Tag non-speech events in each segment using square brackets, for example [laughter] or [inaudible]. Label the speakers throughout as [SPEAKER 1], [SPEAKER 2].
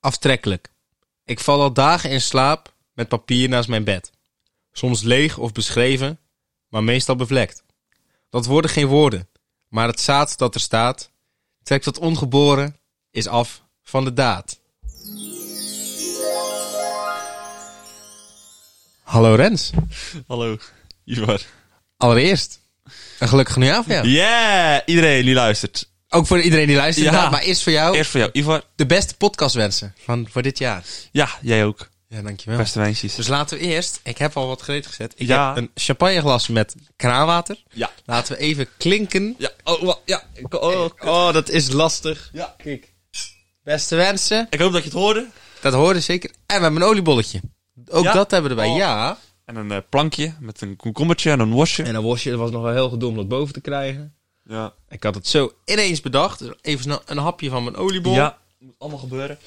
[SPEAKER 1] Aftrekkelijk. Ik val al dagen in slaap met papier naast mijn bed. Soms leeg of beschreven, maar meestal bevlekt. Dat worden geen woorden, maar het zaad dat er staat, trekt dat ongeboren, is af van de daad. Hallo Rens.
[SPEAKER 2] Hallo, Ivar.
[SPEAKER 1] Allereerst, een gelukkig nieuwjaar. Ja.
[SPEAKER 2] Yeah, iedereen die luistert.
[SPEAKER 1] Ook voor iedereen die luistert,
[SPEAKER 2] Ja.
[SPEAKER 1] inderdaad, maar eerst voor jou
[SPEAKER 2] Eerst voor jou, Ivar.
[SPEAKER 1] de beste podcastwensen van voor dit jaar.
[SPEAKER 2] Ja, jij ook.
[SPEAKER 1] Ja, dankjewel.
[SPEAKER 2] Beste wijntjes.
[SPEAKER 1] Dus laten we eerst, ik heb al wat gereed gezet. Ik
[SPEAKER 2] Ja.
[SPEAKER 1] heb een champagneglas met kraanwater.
[SPEAKER 2] Ja.
[SPEAKER 1] Laten we even klinken.
[SPEAKER 2] Ja, oh, wa- ja. Ik, oh,
[SPEAKER 1] Oh, dat is lastig.
[SPEAKER 2] ja.
[SPEAKER 1] Beste wensen.
[SPEAKER 2] ik hoop dat je het hoorde.
[SPEAKER 1] Dat hoorde zeker. En we hebben een oliebolletje. Ook
[SPEAKER 2] Ja?
[SPEAKER 1] dat hebben we erbij,
[SPEAKER 2] Oh.
[SPEAKER 1] ja.
[SPEAKER 2] En een eh, plankje met een komkommertje en een wasje.
[SPEAKER 1] En dan was je, was nog wel heel gedoe om dat boven te krijgen.
[SPEAKER 2] Ja.
[SPEAKER 1] Ik had het zo ineens bedacht. Dus Even snel een hapje van mijn oliebol.
[SPEAKER 2] Ja, moet allemaal gebeuren.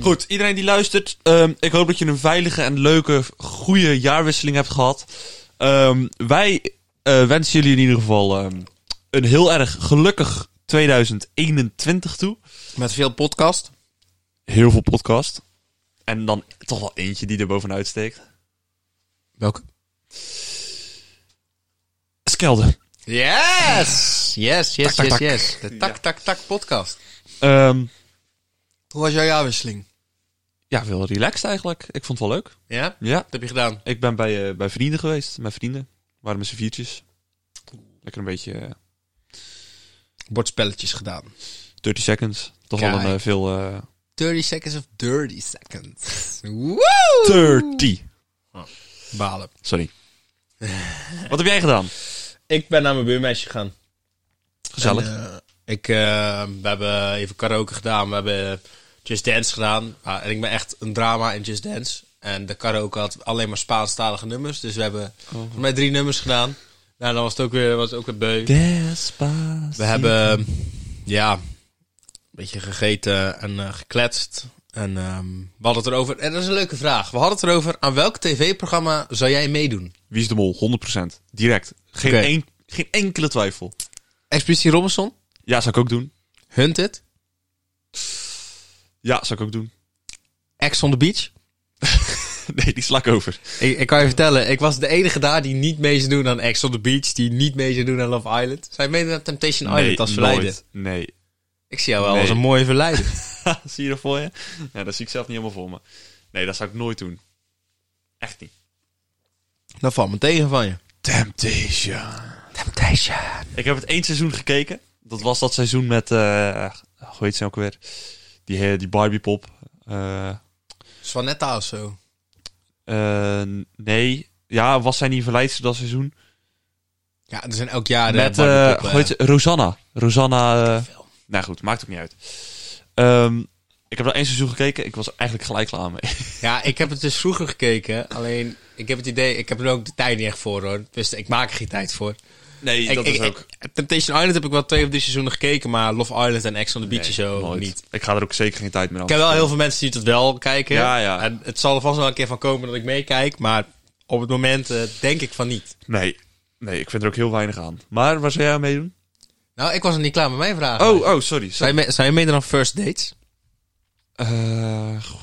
[SPEAKER 2] Goed, iedereen die luistert, ehm, ik hoop dat je een veilige en leuke, goede jaarwisseling hebt gehad. Ehm, wij eh, wensen jullie in ieder geval ehm, een heel erg gelukkig 2021 toe.
[SPEAKER 1] Met veel podcast.
[SPEAKER 2] heel veel podcast. En dan toch wel eentje die er bovenuit steekt.
[SPEAKER 1] Welke?
[SPEAKER 2] Skelde.
[SPEAKER 1] Yes! Yes, yes,
[SPEAKER 2] Tak,
[SPEAKER 1] yes,
[SPEAKER 2] tak,
[SPEAKER 1] yes. De tak, tak, tak podcast.
[SPEAKER 2] Ehm,
[SPEAKER 1] Hoe was jouw jaarwisseling?
[SPEAKER 2] ja, veel relaxed eigenlijk. Ik vond het wel leuk.
[SPEAKER 1] Ja? Wat
[SPEAKER 2] Ja,
[SPEAKER 1] heb je gedaan?
[SPEAKER 2] ik ben bij, eh, bij vrienden geweest. Mijn vrienden waren met z'n viertjes. Lekker een beetje eh,
[SPEAKER 1] Bordspelletjes gedaan.
[SPEAKER 2] 30 seconds. Toch wel een
[SPEAKER 1] Kijk.
[SPEAKER 2] eh, veel... eh,
[SPEAKER 1] 30 seconds of 30 seconds. Woe!
[SPEAKER 2] 30.
[SPEAKER 1] Balen.
[SPEAKER 2] Sorry. Wat heb jij gedaan?
[SPEAKER 1] Ik ben naar mijn buurmeisje gegaan.
[SPEAKER 2] Gezellig.
[SPEAKER 1] En, eh, ik, eh, we hebben even karaoke gedaan. We hebben Just Dance gedaan. Ah, en ik ben echt een drama in Just Dance. En de karaoke had alleen maar Spaanstalige nummers. Dus we hebben volgens mij drie nummers gedaan. Nou, dan was het ook weer, was het ook weer beu.
[SPEAKER 2] Despacito.
[SPEAKER 1] We hebben, ja, een beetje gegeten en eh, gekletst. En ehm, we hadden het erover, en dat is een leuke vraag. We hadden het erover, aan welk tv-programma zou jij meedoen?
[SPEAKER 2] Wie is de mol? 100%. Direct. Geen,
[SPEAKER 1] Oké.
[SPEAKER 2] een- geen enkele twijfel.
[SPEAKER 1] Expeditie Robinson?
[SPEAKER 2] Ja, zou ik ook doen.
[SPEAKER 1] Hunted?
[SPEAKER 2] Ja, zou ik ook doen. [laughs]
[SPEAKER 1] Ex on the Beach?
[SPEAKER 2] Nee, die slak over.
[SPEAKER 1] Ik, ik kan Oh, je vertellen, ik was de enige daar die niet mee zou doen aan Ex on the Beach. Die niet mee zou doen aan Love Island. Zij meedoen aan Temptation Island als verleider.
[SPEAKER 2] nooit. Nee.
[SPEAKER 1] Ik zie jou wel
[SPEAKER 2] Nee.
[SPEAKER 1] als een mooie verleider.
[SPEAKER 2] Ha, zie je dat voor je? Ja, dat zie ik zelf niet helemaal voor me. Nee, dat zou ik nooit doen. Echt niet.
[SPEAKER 1] [laughs] dat valt me tegen van je.
[SPEAKER 2] Temptation.
[SPEAKER 1] Temptation.
[SPEAKER 2] Ik heb het één seizoen gekeken. Dat was dat seizoen met, eh hoe heet ze ook weer? Die, he- die Barbie pop. Eh,
[SPEAKER 1] Swanetta of zo.
[SPEAKER 2] eh, nee. Ja, was zij niet verleidster dat seizoen?
[SPEAKER 1] Ja, er zijn elk jaar... eh,
[SPEAKER 2] met, eh
[SPEAKER 1] Barbie-poppen,
[SPEAKER 2] hoe heet ze? Rosanna. Rosanna. eh,
[SPEAKER 1] veel.
[SPEAKER 2] nou goed, maakt ook niet uit. Ehm, ik heb dat één seizoen gekeken. Ik was eigenlijk gelijk klaar mee.
[SPEAKER 1] Ja, ik heb het dus vroeger gekeken. Alleen, ik heb het idee, ik heb er ook de tijd niet echt voor hoor. Dus ik maak er geen tijd voor.
[SPEAKER 2] Nee,
[SPEAKER 1] ik, ik- ik- Temptation Island heb ik wel twee of drie seizoenen gekeken, maar Love Island en Ex on the Beach
[SPEAKER 2] Nee,
[SPEAKER 1] en zo
[SPEAKER 2] nooit.
[SPEAKER 1] niet.
[SPEAKER 2] Ik ga er ook zeker geen tijd meer aan.
[SPEAKER 1] Ik heb wel heel veel mensen die het wel kijken.
[SPEAKER 2] Ja, ja.
[SPEAKER 1] En het zal er vast wel een keer van komen dat ik meekijk, maar op het moment eh, denk ik van niet.
[SPEAKER 2] Nee, nee, ik vind er ook heel weinig aan. Maar waar zou jij aan meedoen?
[SPEAKER 1] Nou, ik was nog niet klaar met mijn vraag.
[SPEAKER 2] Oh, oh, sorry. sorry.
[SPEAKER 1] Zijn je, mee- zou je meedoen aan First Dates?
[SPEAKER 2] Eh, goh,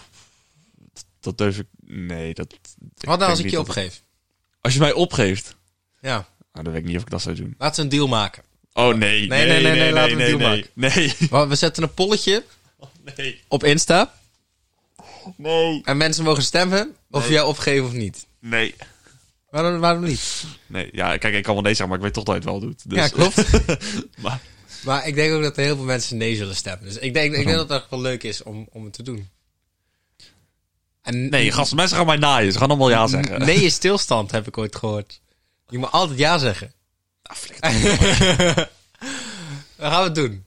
[SPEAKER 2] dat- dat durf ik... Nee, dat...
[SPEAKER 1] Wat nou als
[SPEAKER 2] denk
[SPEAKER 1] ik
[SPEAKER 2] niet
[SPEAKER 1] je
[SPEAKER 2] dat-
[SPEAKER 1] opgeef?
[SPEAKER 2] Als je mij opgeeft...
[SPEAKER 1] Ja,
[SPEAKER 2] Nou, dan weet ik niet of ik dat zou doen.
[SPEAKER 1] laten we een deal maken.
[SPEAKER 2] Oh,
[SPEAKER 1] nee,
[SPEAKER 2] nee.
[SPEAKER 1] nee, nee, laten we een deal
[SPEAKER 2] nee, Nee, [laughs]
[SPEAKER 1] Want We zetten een polletje
[SPEAKER 2] nee.
[SPEAKER 1] op Insta
[SPEAKER 2] Nee.
[SPEAKER 1] en mensen mogen stemmen of
[SPEAKER 2] Nee.
[SPEAKER 1] jij opgeeft of niet.
[SPEAKER 2] Nee.
[SPEAKER 1] Waarom, waarom niet?
[SPEAKER 2] Nee. Ja, kijk, ik kan wel nee zeggen, maar ik weet toch dat je het wel doet. Dus.
[SPEAKER 1] Ja, klopt.
[SPEAKER 2] [laughs] maar,
[SPEAKER 1] [laughs] maar ik denk ook dat er heel veel mensen nee zullen stemmen. Dus ik denk, ik denk dat het echt wel leuk is om, om het te doen. En
[SPEAKER 2] nee, gasten, mensen gaan mij naaien. Ze gaan allemaal ja zeggen.
[SPEAKER 1] Nee is stilstand, heb ik ooit gehoord. Je moet altijd ja zeggen.
[SPEAKER 2] Ah, flikker.
[SPEAKER 1] Dan gaan we het doen.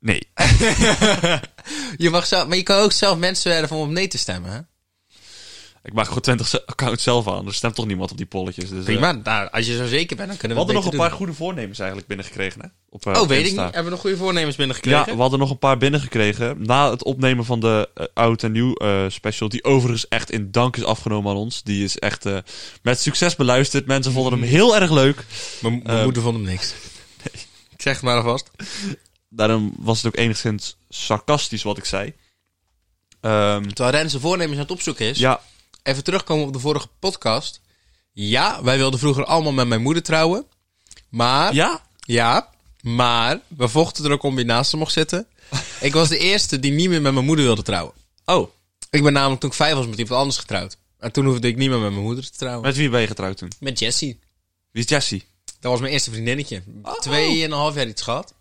[SPEAKER 2] Nee.
[SPEAKER 1] Je mag zelf, maar je kan ook zelf mensen werven om op nee te stemmen. Hè?
[SPEAKER 2] Ik maak gewoon 20 ze- accounts zelf aan. Er stemt toch niemand op die polletjes. Dus, eh,
[SPEAKER 1] Prima, nou, als je zo zeker bent, dan
[SPEAKER 2] We
[SPEAKER 1] kunnen we,
[SPEAKER 2] hadden nog
[SPEAKER 1] het
[SPEAKER 2] een
[SPEAKER 1] beter
[SPEAKER 2] paar goede voornemens eigenlijk binnengekregen, hè? Op, eh,
[SPEAKER 1] doen.
[SPEAKER 2] op
[SPEAKER 1] Oh, weet ik
[SPEAKER 2] Insta.
[SPEAKER 1] niet. Hebben we nog goede voornemens
[SPEAKER 2] Ja,
[SPEAKER 1] binnengekregen?
[SPEAKER 2] we hadden nog een paar binnengekregen. Na het opnemen van de eh, oud en nieuw eh, special. Die overigens echt in dank is afgenomen aan ons. Die is echt eh, met succes beluisterd. Mensen vonden hem heel erg leuk.
[SPEAKER 1] Mijn mijn
[SPEAKER 2] Ehm.
[SPEAKER 1] [laughs] moeder vond hem niks. Ik zeg het maar alvast.
[SPEAKER 2] Daarom was het ook enigszins sarcastisch wat ik zei. Ehm,
[SPEAKER 1] Terwijl Ren zijn voornemens aan het opzoeken is.
[SPEAKER 2] ja,
[SPEAKER 1] Even terugkomen op de vorige podcast. Ja, wij wilden vroeger allemaal met mijn moeder trouwen. Maar, ja,
[SPEAKER 2] ja,
[SPEAKER 1] maar, we vochten er ook om wie naast ze mocht zitten. ik was de eerste die niet meer met mijn moeder wilde trouwen.
[SPEAKER 2] oh,
[SPEAKER 1] Ik ben namelijk toen ik vijf was met iemand anders getrouwd. En toen hoefde ik niet meer met mijn moeder te trouwen.
[SPEAKER 2] met wie ben je getrouwd toen?
[SPEAKER 1] Met Jessie. Oh.
[SPEAKER 2] Wie is Jessie?
[SPEAKER 1] Dat was mijn eerste vriendinnetje. Tweeënhalf jaar iets gehad.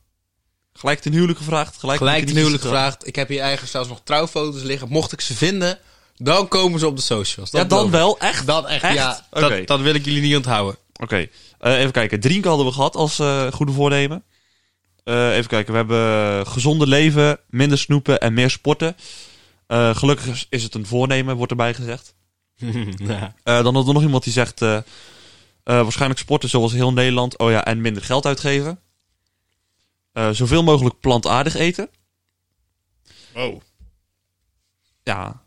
[SPEAKER 2] Gelijk ten huwelijk gevraagd? Gelijk,
[SPEAKER 1] Gelijk ten
[SPEAKER 2] knietjes
[SPEAKER 1] huwelijk gevraagd. Ik heb hier eigenlijk zelfs nog trouwfoto's liggen. Mocht ik ze vinden, dan komen ze op de socials.
[SPEAKER 2] Ja,
[SPEAKER 1] Dat
[SPEAKER 2] dan
[SPEAKER 1] beloof ik.
[SPEAKER 2] wel, echt?
[SPEAKER 1] Dan echt,
[SPEAKER 2] Echt?
[SPEAKER 1] ja.
[SPEAKER 2] Oké.
[SPEAKER 1] Dat, dat wil ik jullie niet onthouden. [laughs]
[SPEAKER 2] Oké, eh, even kijken. Drinken hadden we gehad als eh, goede voornemen. Eh, even kijken, we hebben gezonder leven, minder snoepen en meer sporten. Eh, gelukkig is- is het een voornemen, wordt erbij gezegd.
[SPEAKER 1] ja.
[SPEAKER 2] Eh, dan had er nog iemand die zegt, eh, eh, waarschijnlijk sporten zoals heel Nederland. Oh ja, en minder geld uitgeven. Eh, zoveel mogelijk plantaardig eten.
[SPEAKER 1] Wow.
[SPEAKER 2] Ja,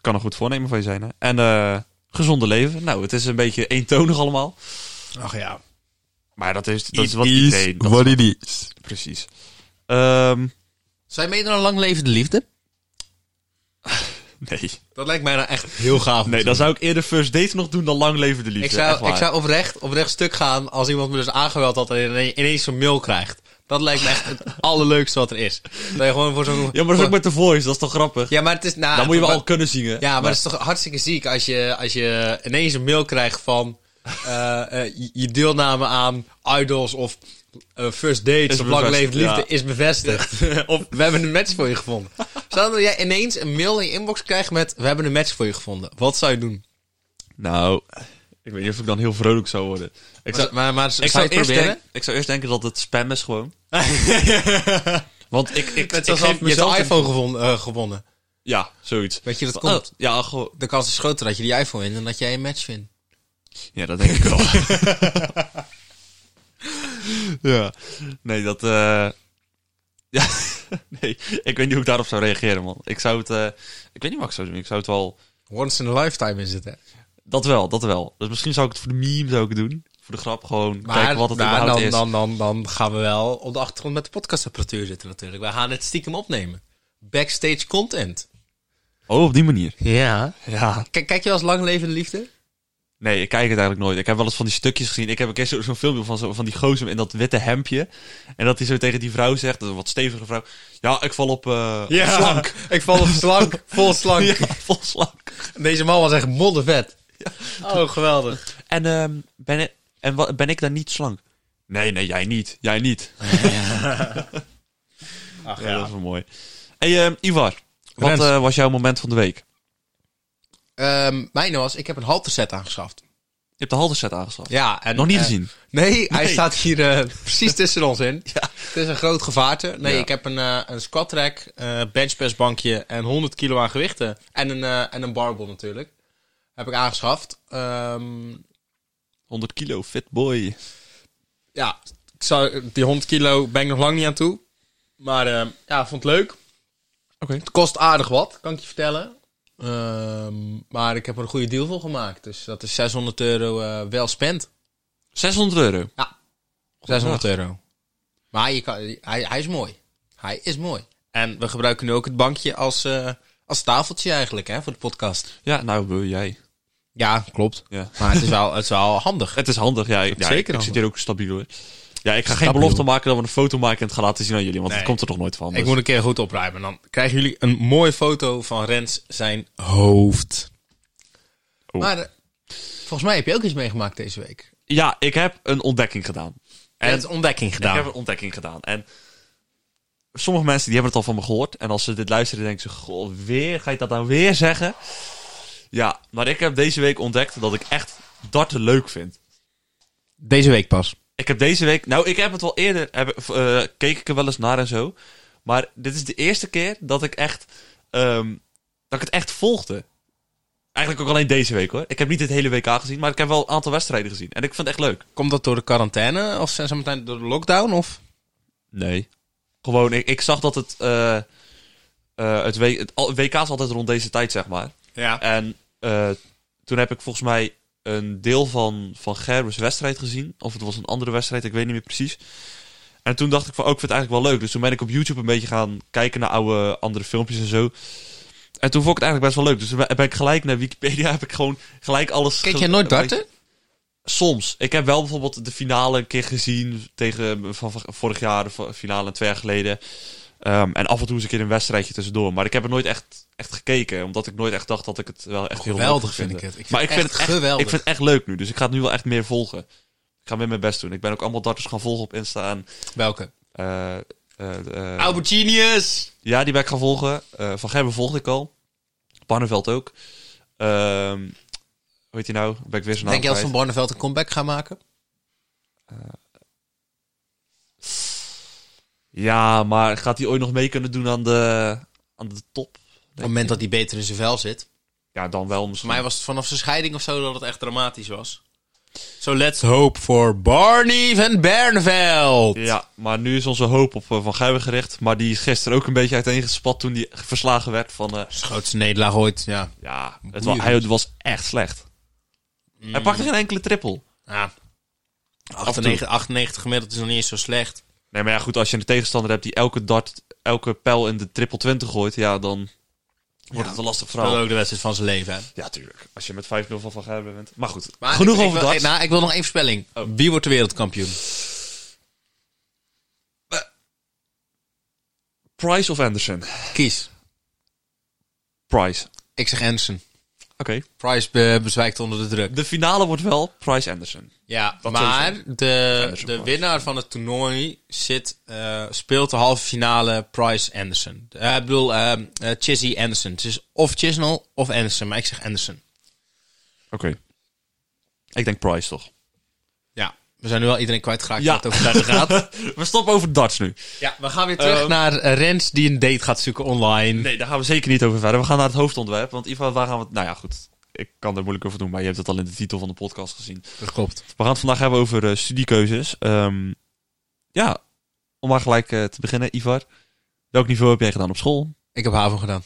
[SPEAKER 2] kan een goed voornemen van je zijn. Hè? En eh, gezonder leven. Nou, het is een beetje eentonig allemaal.
[SPEAKER 1] Ach ja.
[SPEAKER 2] Maar dat is, dat is wat iedereen... dat is
[SPEAKER 1] what it is.
[SPEAKER 2] Precies. Ehm,
[SPEAKER 1] Zou je meedoen aan lang levende liefde?
[SPEAKER 2] nee.
[SPEAKER 1] Dat lijkt mij nou echt heel gaaf.
[SPEAKER 2] Nee, dan zou ik eerder first date nog doen dan lang leven de liefde.
[SPEAKER 1] ik
[SPEAKER 2] echt
[SPEAKER 1] zou,
[SPEAKER 2] waar.
[SPEAKER 1] ik zou oprecht, oprecht stuk gaan als iemand me dus aangemeld had en ine- ineens zo'n mail krijgt. Dat lijkt me echt het [laughs] allerleukste wat er is. Dat je gewoon voor zo'n...
[SPEAKER 2] Ja, maar dat is ook met de voice, dat is toch grappig?
[SPEAKER 1] Ja, maar het is... Nou,
[SPEAKER 2] dan moet je wel
[SPEAKER 1] maar-
[SPEAKER 2] al kunnen zingen. [laughs]
[SPEAKER 1] Ja, maar het is toch hartstikke ziek als je, als je ineens een mail krijgt van eh, eh, je- je deelname aan idols of eh, first dates of lang
[SPEAKER 2] bevestigd,
[SPEAKER 1] leven liefde
[SPEAKER 2] ja.
[SPEAKER 1] is bevestigd. of we hebben een match voor je gevonden. Zou dat jij ineens een mail in je inbox krijgt met we hebben een match voor je gevonden. Wat zou je doen?
[SPEAKER 2] Nou, ik weet niet of ik dan heel vrolijk zou worden. Ik zou,
[SPEAKER 1] Maar, maar, maar zou
[SPEAKER 2] ik
[SPEAKER 1] je het
[SPEAKER 2] zou, eerst
[SPEAKER 1] proberen?
[SPEAKER 2] denk- ik zou eerst denken dat het spam is
[SPEAKER 1] [laughs]
[SPEAKER 2] gewoon. Want ik, ik,
[SPEAKER 1] Net
[SPEAKER 2] ik
[SPEAKER 1] zoals
[SPEAKER 2] geef
[SPEAKER 1] je hebt
[SPEAKER 2] mezelf...
[SPEAKER 1] een
[SPEAKER 2] een-
[SPEAKER 1] iPhone gevonden, eh, gewonnen.
[SPEAKER 2] Ja, zoiets.
[SPEAKER 1] Weet je, dat
[SPEAKER 2] Oh,
[SPEAKER 1] komt.
[SPEAKER 2] ja, gewoon...
[SPEAKER 1] De kans is groter dat je die iPhone wint dan dat jij een match vindt.
[SPEAKER 2] Ja, dat denk ik wel. [laughs] ja. Nee, dat... eh, [laughs] Ja, nee. Ik weet niet hoe ik daarop zou reageren, man. Ik zou het... eh, Ik weet niet wat ik zou doen. Ik zou het wel...
[SPEAKER 1] Once in a lifetime is het, hè?
[SPEAKER 2] Dat wel, dat wel. Dus misschien zou ik het voor de meme zou ik het doen. Voor de grap gewoon
[SPEAKER 1] Maar
[SPEAKER 2] kijken wat het
[SPEAKER 1] nou,
[SPEAKER 2] überhaupt
[SPEAKER 1] dan,
[SPEAKER 2] is.
[SPEAKER 1] Dan, dan, dan gaan we wel op de achtergrond met de podcastapparatuur zitten natuurlijk. We gaan het stiekem opnemen. Backstage content.
[SPEAKER 2] Oh, op die manier.
[SPEAKER 1] Ja.
[SPEAKER 2] Ja.
[SPEAKER 1] Kijk, kijk je als lang levende liefde?
[SPEAKER 2] Nee, ik kijk het eigenlijk nooit. Ik heb wel eens van die stukjes gezien. Ik heb een keer zo- zo'n filmpje van, zo, van die gozer in dat witte hemdje. En dat hij zo tegen die vrouw zegt, dat is een wat stevige vrouw. Ja, ik val op eh, op slank.
[SPEAKER 1] [laughs] Ik val op slank. Vol slank.
[SPEAKER 2] Ja, vol slank.
[SPEAKER 1] Deze man was echt moddervet. Oh, geweldig.
[SPEAKER 2] En, ehm, ben, ik- en wat, ben ik dan niet slank? Nee, nee, jij niet. Jij niet.
[SPEAKER 1] Ach
[SPEAKER 2] Ja, [laughs] dat is wel mooi. hey, ehm, Ivar. Wat
[SPEAKER 1] Rens.
[SPEAKER 2] eh, was jouw moment van de week?
[SPEAKER 1] Ehm, mijn was, ik heb een halterset aangeschaft.
[SPEAKER 2] Je hebt de halterset aangeschaft.
[SPEAKER 1] Ja, en,
[SPEAKER 2] Nog niet
[SPEAKER 1] eh,
[SPEAKER 2] gezien.
[SPEAKER 1] Nee, hij
[SPEAKER 2] Nee.
[SPEAKER 1] staat hier eh, precies tussen ons in. Het is een groot gevaarte. Nee,
[SPEAKER 2] Ja.
[SPEAKER 1] ik heb een, eh, een squat rack, eh benchpress bankje en 100 kilo aan gewichten. En een, eh, en een barbell natuurlijk. Heb ik aangeschaft. Ehm,
[SPEAKER 2] 100 kilo, fit boy.
[SPEAKER 1] ja, ik zou, die 100 kilo ben ik nog lang niet aan toe. Maar ehm, ja, vond het leuk.
[SPEAKER 2] Oké.
[SPEAKER 1] Het kost aardig wat, kan ik je vertellen. Ehm, maar ik heb er een goede deal voor gemaakt. Dus dat is 600 euro eh, wel spend.
[SPEAKER 2] 600 euro.
[SPEAKER 1] 600 euro. Maar je kan, hij, hij is mooi. Hij is mooi. En we gebruiken nu ook het bankje als, eh, als tafeltje eigenlijk, hè, voor de podcast.
[SPEAKER 2] Ja, nou, wil jij.
[SPEAKER 1] Ja, klopt.
[SPEAKER 2] Ja.
[SPEAKER 1] Maar het is wel, het is wel handig.
[SPEAKER 2] Het is handig. Ja, ik, ja,
[SPEAKER 1] Zeker
[SPEAKER 2] ik- ik,
[SPEAKER 1] handig.
[SPEAKER 2] zit hier ook stabiel hoor. Ja, ik ga geen
[SPEAKER 1] Stabiel.
[SPEAKER 2] belofte maken dat we een foto maken en het gaan laten zien aan jullie. Want
[SPEAKER 1] Nee.
[SPEAKER 2] het komt er toch nooit van.
[SPEAKER 1] Ik
[SPEAKER 2] dus-
[SPEAKER 1] moet een keer goed opruimen. Dan krijgen jullie een mooie foto van Rens zijn hoofd.
[SPEAKER 2] Oh.
[SPEAKER 1] Maar eh, volgens mij heb je ook iets meegemaakt deze week.
[SPEAKER 2] Ja, ik heb een ontdekking gedaan.
[SPEAKER 1] En
[SPEAKER 2] En-
[SPEAKER 1] het ontdekking
[SPEAKER 2] Ik
[SPEAKER 1] gedaan.
[SPEAKER 2] heb een ontdekking gedaan. En sommige mensen die hebben het al van me gehoord. En als ze dit luisteren, denken ze: Goh, weer ga je dat nou weer zeggen? Ja, maar ik heb deze week ontdekt dat ik echt darten leuk vind.
[SPEAKER 1] Deze week pas.
[SPEAKER 2] Ik heb deze week. Nou, ik heb het wel eerder. Heb, eh, keek ik er wel eens naar en zo. Maar dit is de eerste keer dat ik echt. ehm, dat ik het echt volgde. Eigenlijk ook alleen deze week hoor. Ik heb niet het hele WK gezien. Maar ik heb wel een aantal wedstrijden gezien. En ik vind het echt leuk.
[SPEAKER 1] Komt dat door de quarantaine of zijn ze meteen door de lockdown? Of?
[SPEAKER 2] Nee. Gewoon, ik, ik zag dat het. eh, eh, het, w, het al- WK is altijd rond deze tijd, zeg maar.
[SPEAKER 1] Ja.
[SPEAKER 2] En eh, toen heb ik volgens mij een deel van, van Gerber's wedstrijd gezien. Of het was een andere wedstrijd, ik weet niet meer precies. En En toen dacht ik van, ook ik vind het eigenlijk wel leuk. Dus toen ben ik op YouTube een beetje gaan kijken naar oude andere filmpjes en zo. En toen vond ik het eigenlijk best wel leuk. Dus toen ben- ben ik gelijk naar Wikipedia, [laughs] heb ik gewoon gelijk alles...
[SPEAKER 1] Kijk
[SPEAKER 2] ge-
[SPEAKER 1] jij nooit
[SPEAKER 2] een beetje-
[SPEAKER 1] darten?
[SPEAKER 2] Soms. Ik heb wel bijvoorbeeld de finale een keer gezien tegen van van vorig jaar, de v- finale twee jaar geleden. Ehm, en af en toe eens een keer een wedstrijdje tussendoor. Maar ik heb er nooit echt, echt gekeken, omdat ik nooit echt dacht dat ik het wel echt heel leuk
[SPEAKER 1] Geweldig
[SPEAKER 2] zou
[SPEAKER 1] vind ik
[SPEAKER 2] vinden.
[SPEAKER 1] het. Ik vind
[SPEAKER 2] maar
[SPEAKER 1] het
[SPEAKER 2] ik vind
[SPEAKER 1] echt
[SPEAKER 2] het echt
[SPEAKER 1] geweldig.
[SPEAKER 2] Ik vind het echt leuk nu, dus ik ga het nu wel echt meer volgen. Ik ga weer mijn best doen. Ik ben ook allemaal darters gaan volgen op Insta en...
[SPEAKER 1] Welke?
[SPEAKER 2] eh, eh, eh,
[SPEAKER 1] Albert Genius!
[SPEAKER 2] ja, die ben ik gaan volgen. Eh, van Gerben volgde ik al. Barneveld ook. Ehm hoe heet hij nou? Ben ik weer zijn naam
[SPEAKER 1] Denk je als Van
[SPEAKER 2] kwijt.
[SPEAKER 1] Barneveld een comeback gaat maken?
[SPEAKER 2] Ja, maar gaat hij ooit nog mee kunnen doen aan de, aan de top?
[SPEAKER 1] Op het moment dat hij beter in zijn vel zit.
[SPEAKER 2] Ja, dan wel misschien.
[SPEAKER 1] Voor mij was het vanaf zijn scheiding of zo dat het echt dramatisch was. So let's hope for Barney van Barneveld.
[SPEAKER 2] Ja, maar nu is onze hoop op eh, Van Gijpen gericht. Maar die is gisteren ook een beetje uiteengespat toen die verslagen werd van... eh,
[SPEAKER 1] Zijn grootste nederlaag ooit, ja.
[SPEAKER 2] ja, het was,
[SPEAKER 1] Boeiend.
[SPEAKER 2] hij was echt slecht.
[SPEAKER 1] Mm.
[SPEAKER 2] Hij pakte geen enkele triple.
[SPEAKER 1] ja.
[SPEAKER 2] toe.
[SPEAKER 1] 98, 98 Ah. gemiddeld is nog niet eens zo slecht.
[SPEAKER 2] Nee, maar ja, goed, als je een tegenstander hebt die elke dart, elke pijl in de triple 20 gooit, ja, dan wordt het een lastig
[SPEAKER 1] Dat is
[SPEAKER 2] verhaal.
[SPEAKER 1] ook de wedstrijd van zijn leven, hè.
[SPEAKER 2] Ja, tuurlijk. Als je met 5-0 van Van Gijpen bent. Maar goed,
[SPEAKER 1] Maar
[SPEAKER 2] genoeg
[SPEAKER 1] ik, ik
[SPEAKER 2] over
[SPEAKER 1] wil,
[SPEAKER 2] darts.
[SPEAKER 1] ik- nou, ik wil nog één voorspelling.
[SPEAKER 2] Oh.
[SPEAKER 1] Wie wordt de wereldkampioen?
[SPEAKER 2] Price of Anderson?
[SPEAKER 1] Kies.
[SPEAKER 2] Price. Oké.
[SPEAKER 1] Ik zeg Anderson. Price be- bezwijkt onder de druk.
[SPEAKER 2] De finale wordt wel Price-Anderson.
[SPEAKER 1] Ja,
[SPEAKER 2] Dat
[SPEAKER 1] maar de,
[SPEAKER 2] Anderson
[SPEAKER 1] de
[SPEAKER 2] Price.
[SPEAKER 1] winnaar van het toernooi zit, eh, speelt de halve finale Price Anderson. Eh, ik bedoel, ehm eh, Chizzy Anderson. Het is of Chisnell of Anderson, maar ik zeg Anderson.
[SPEAKER 2] Oké. Ik denk Price toch?
[SPEAKER 1] Ja, we zijn nu wel iedereen kwijtgeraakt
[SPEAKER 2] Ja.
[SPEAKER 1] wat het over verder gaat.
[SPEAKER 2] [laughs] We stoppen over darts nu.
[SPEAKER 1] ja, we gaan weer terug
[SPEAKER 2] Ehm.
[SPEAKER 1] naar eh, Rens die een date gaat zoeken online.
[SPEAKER 2] Nee, daar gaan we zeker niet over verder. We gaan naar het hoofdonderwerp. Want Iva, waar gaan we... Nou ja, goed. Ik kan er moeilijk over doen, maar je hebt het al in de titel van de podcast gezien.
[SPEAKER 1] Dat klopt.
[SPEAKER 2] We gaan het vandaag hebben over eh, studiekeuzes. Ehm, ja, om maar gelijk eh, te beginnen, Ivar. Welk niveau heb jij gedaan op school?
[SPEAKER 1] Ik heb HAVO gedaan.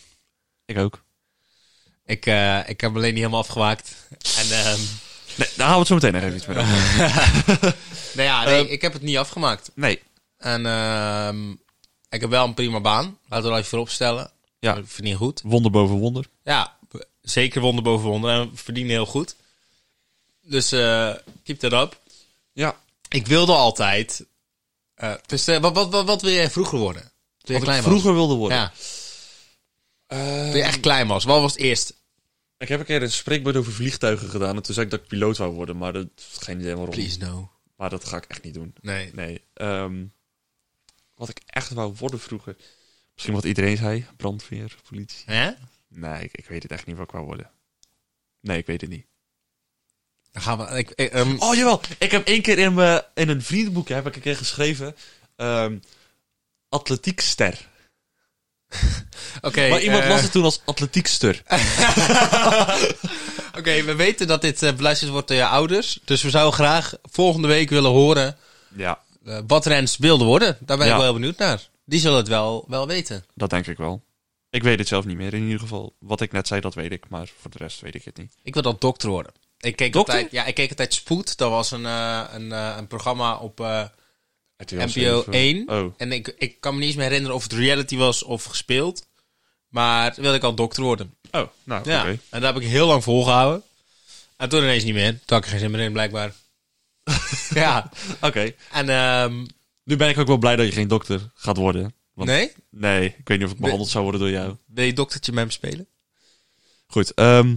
[SPEAKER 2] Ik ook.
[SPEAKER 1] Ik, eh, ik heb alleen niet helemaal afgewaakt. En, ehm,
[SPEAKER 2] Nee, daar gaan we het zo meteen nog even iets meer over.
[SPEAKER 1] nou ja, nee,
[SPEAKER 2] Ehm.
[SPEAKER 1] ik heb het niet afgemaakt.
[SPEAKER 2] Nee,
[SPEAKER 1] En ehm, ik heb wel een prima baan. Laten we dat even voorop stellen.
[SPEAKER 2] Ja.
[SPEAKER 1] Ik vind het goed.
[SPEAKER 2] wonder boven wonder.
[SPEAKER 1] Ja, zeker wonder boven wonder. En we verdienen heel goed. Dus eh keep that up.
[SPEAKER 2] Ja.
[SPEAKER 1] Ik wilde altijd... eh, dus eh, wat, wat, wat, wat wil jij vroeger worden? Toen je
[SPEAKER 2] Wat ik
[SPEAKER 1] klein
[SPEAKER 2] vroeger wilde
[SPEAKER 1] was?
[SPEAKER 2] worden.
[SPEAKER 1] Ja,
[SPEAKER 2] Eh,
[SPEAKER 1] toen je echt klein was. Wat was het eerst?
[SPEAKER 2] ik heb een keer een spreekbeurt over vliegtuigen gedaan. En toen zei ik dat ik piloot wou worden, maar dat geen idee waarom.
[SPEAKER 1] Please no.
[SPEAKER 2] Maar dat ga ik echt niet doen.
[SPEAKER 1] Nee.
[SPEAKER 2] Nee. ehm, wat ik echt wou worden vroeger. Misschien wat iedereen zei. Brandweer, politie.
[SPEAKER 1] Hè?
[SPEAKER 2] Nee, ik, ik weet het echt niet wat ik wou worden. Nee, ik weet het niet.
[SPEAKER 1] Dan gaan we... Ik, ik, ehm,
[SPEAKER 2] Oh jawel, ik heb één keer in, mijn, in een vriendenboek heb ik een keer geschreven. ehm atletiekster.
[SPEAKER 1] Oké,
[SPEAKER 2] maar iemand
[SPEAKER 1] eh,
[SPEAKER 2] las het toen als atletiekster.
[SPEAKER 1] Oké, we weten dat dit eh beluisterd wordt door je ouders. Dus we zouden graag volgende week willen horen
[SPEAKER 2] Ja,
[SPEAKER 1] eh, wat Rens wilde worden. Daar ben ik
[SPEAKER 2] Ja.
[SPEAKER 1] wel heel benieuwd naar. Die zullen het wel, wel weten.
[SPEAKER 2] dat denk ik wel. Ik weet het zelf niet meer. In ieder geval, wat ik net zei, dat weet ik. Maar voor de rest weet ik het niet.
[SPEAKER 1] Ik wil dat dokter worden. Ik keek,
[SPEAKER 2] Dokter?
[SPEAKER 1] Altijd, ja, ik keek altijd Spoed. Dat was een, eh, een, eh, een programma op eh,
[SPEAKER 2] RTL
[SPEAKER 1] NPO
[SPEAKER 2] 7.
[SPEAKER 1] 1.
[SPEAKER 2] Oh,
[SPEAKER 1] En ik, ik kan me niet eens meer herinneren of het reality was of gespeeld. Maar toen wilde ik al dokter worden.
[SPEAKER 2] oh nou,
[SPEAKER 1] Ja.
[SPEAKER 2] oké.
[SPEAKER 1] En daar heb ik heel lang volgehouden. En toen ineens niet meer. Toen had ik er geen zin meer in, blijkbaar. [laughs] ja.
[SPEAKER 2] Oké.
[SPEAKER 1] En, ehm,
[SPEAKER 2] Nu ben ik ook wel blij dat je geen dokter gaat worden. Want
[SPEAKER 1] nee?
[SPEAKER 2] Nee, ik weet niet of ik behandeld zou worden door jou.
[SPEAKER 1] Wil je doktertje met hem spelen?
[SPEAKER 2] Goed, ehm,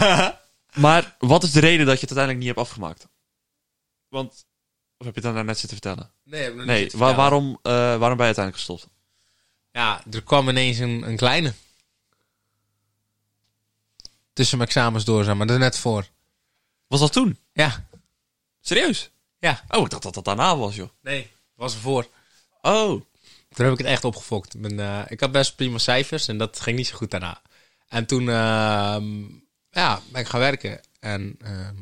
[SPEAKER 2] [laughs] maar wat is de reden dat je het uiteindelijk niet hebt afgemaakt? Want, of heb je het dan net zitten vertellen?
[SPEAKER 1] Nee, heb ik nog niet
[SPEAKER 2] Nee,
[SPEAKER 1] zitten
[SPEAKER 2] wa-
[SPEAKER 1] vertellen.
[SPEAKER 2] waarom, eh, waarom ben je uiteindelijk gestopt?
[SPEAKER 1] Ja, er kwam ineens een, een kleine. Tussen mijn examens door, zeg maar. Dat is net voor.
[SPEAKER 2] Was dat toen?
[SPEAKER 1] Ja.
[SPEAKER 2] Serieus?
[SPEAKER 1] Ja.
[SPEAKER 2] Oh, ik dacht dat dat daarna was, joh.
[SPEAKER 1] Nee, was ervoor.
[SPEAKER 2] Oh,
[SPEAKER 1] Toen heb ik het echt opgefokt. Mijn, eh, ik had best prima cijfers en dat ging niet zo goed daarna. En toen ehm, ja, ben ik gaan werken. En ehm,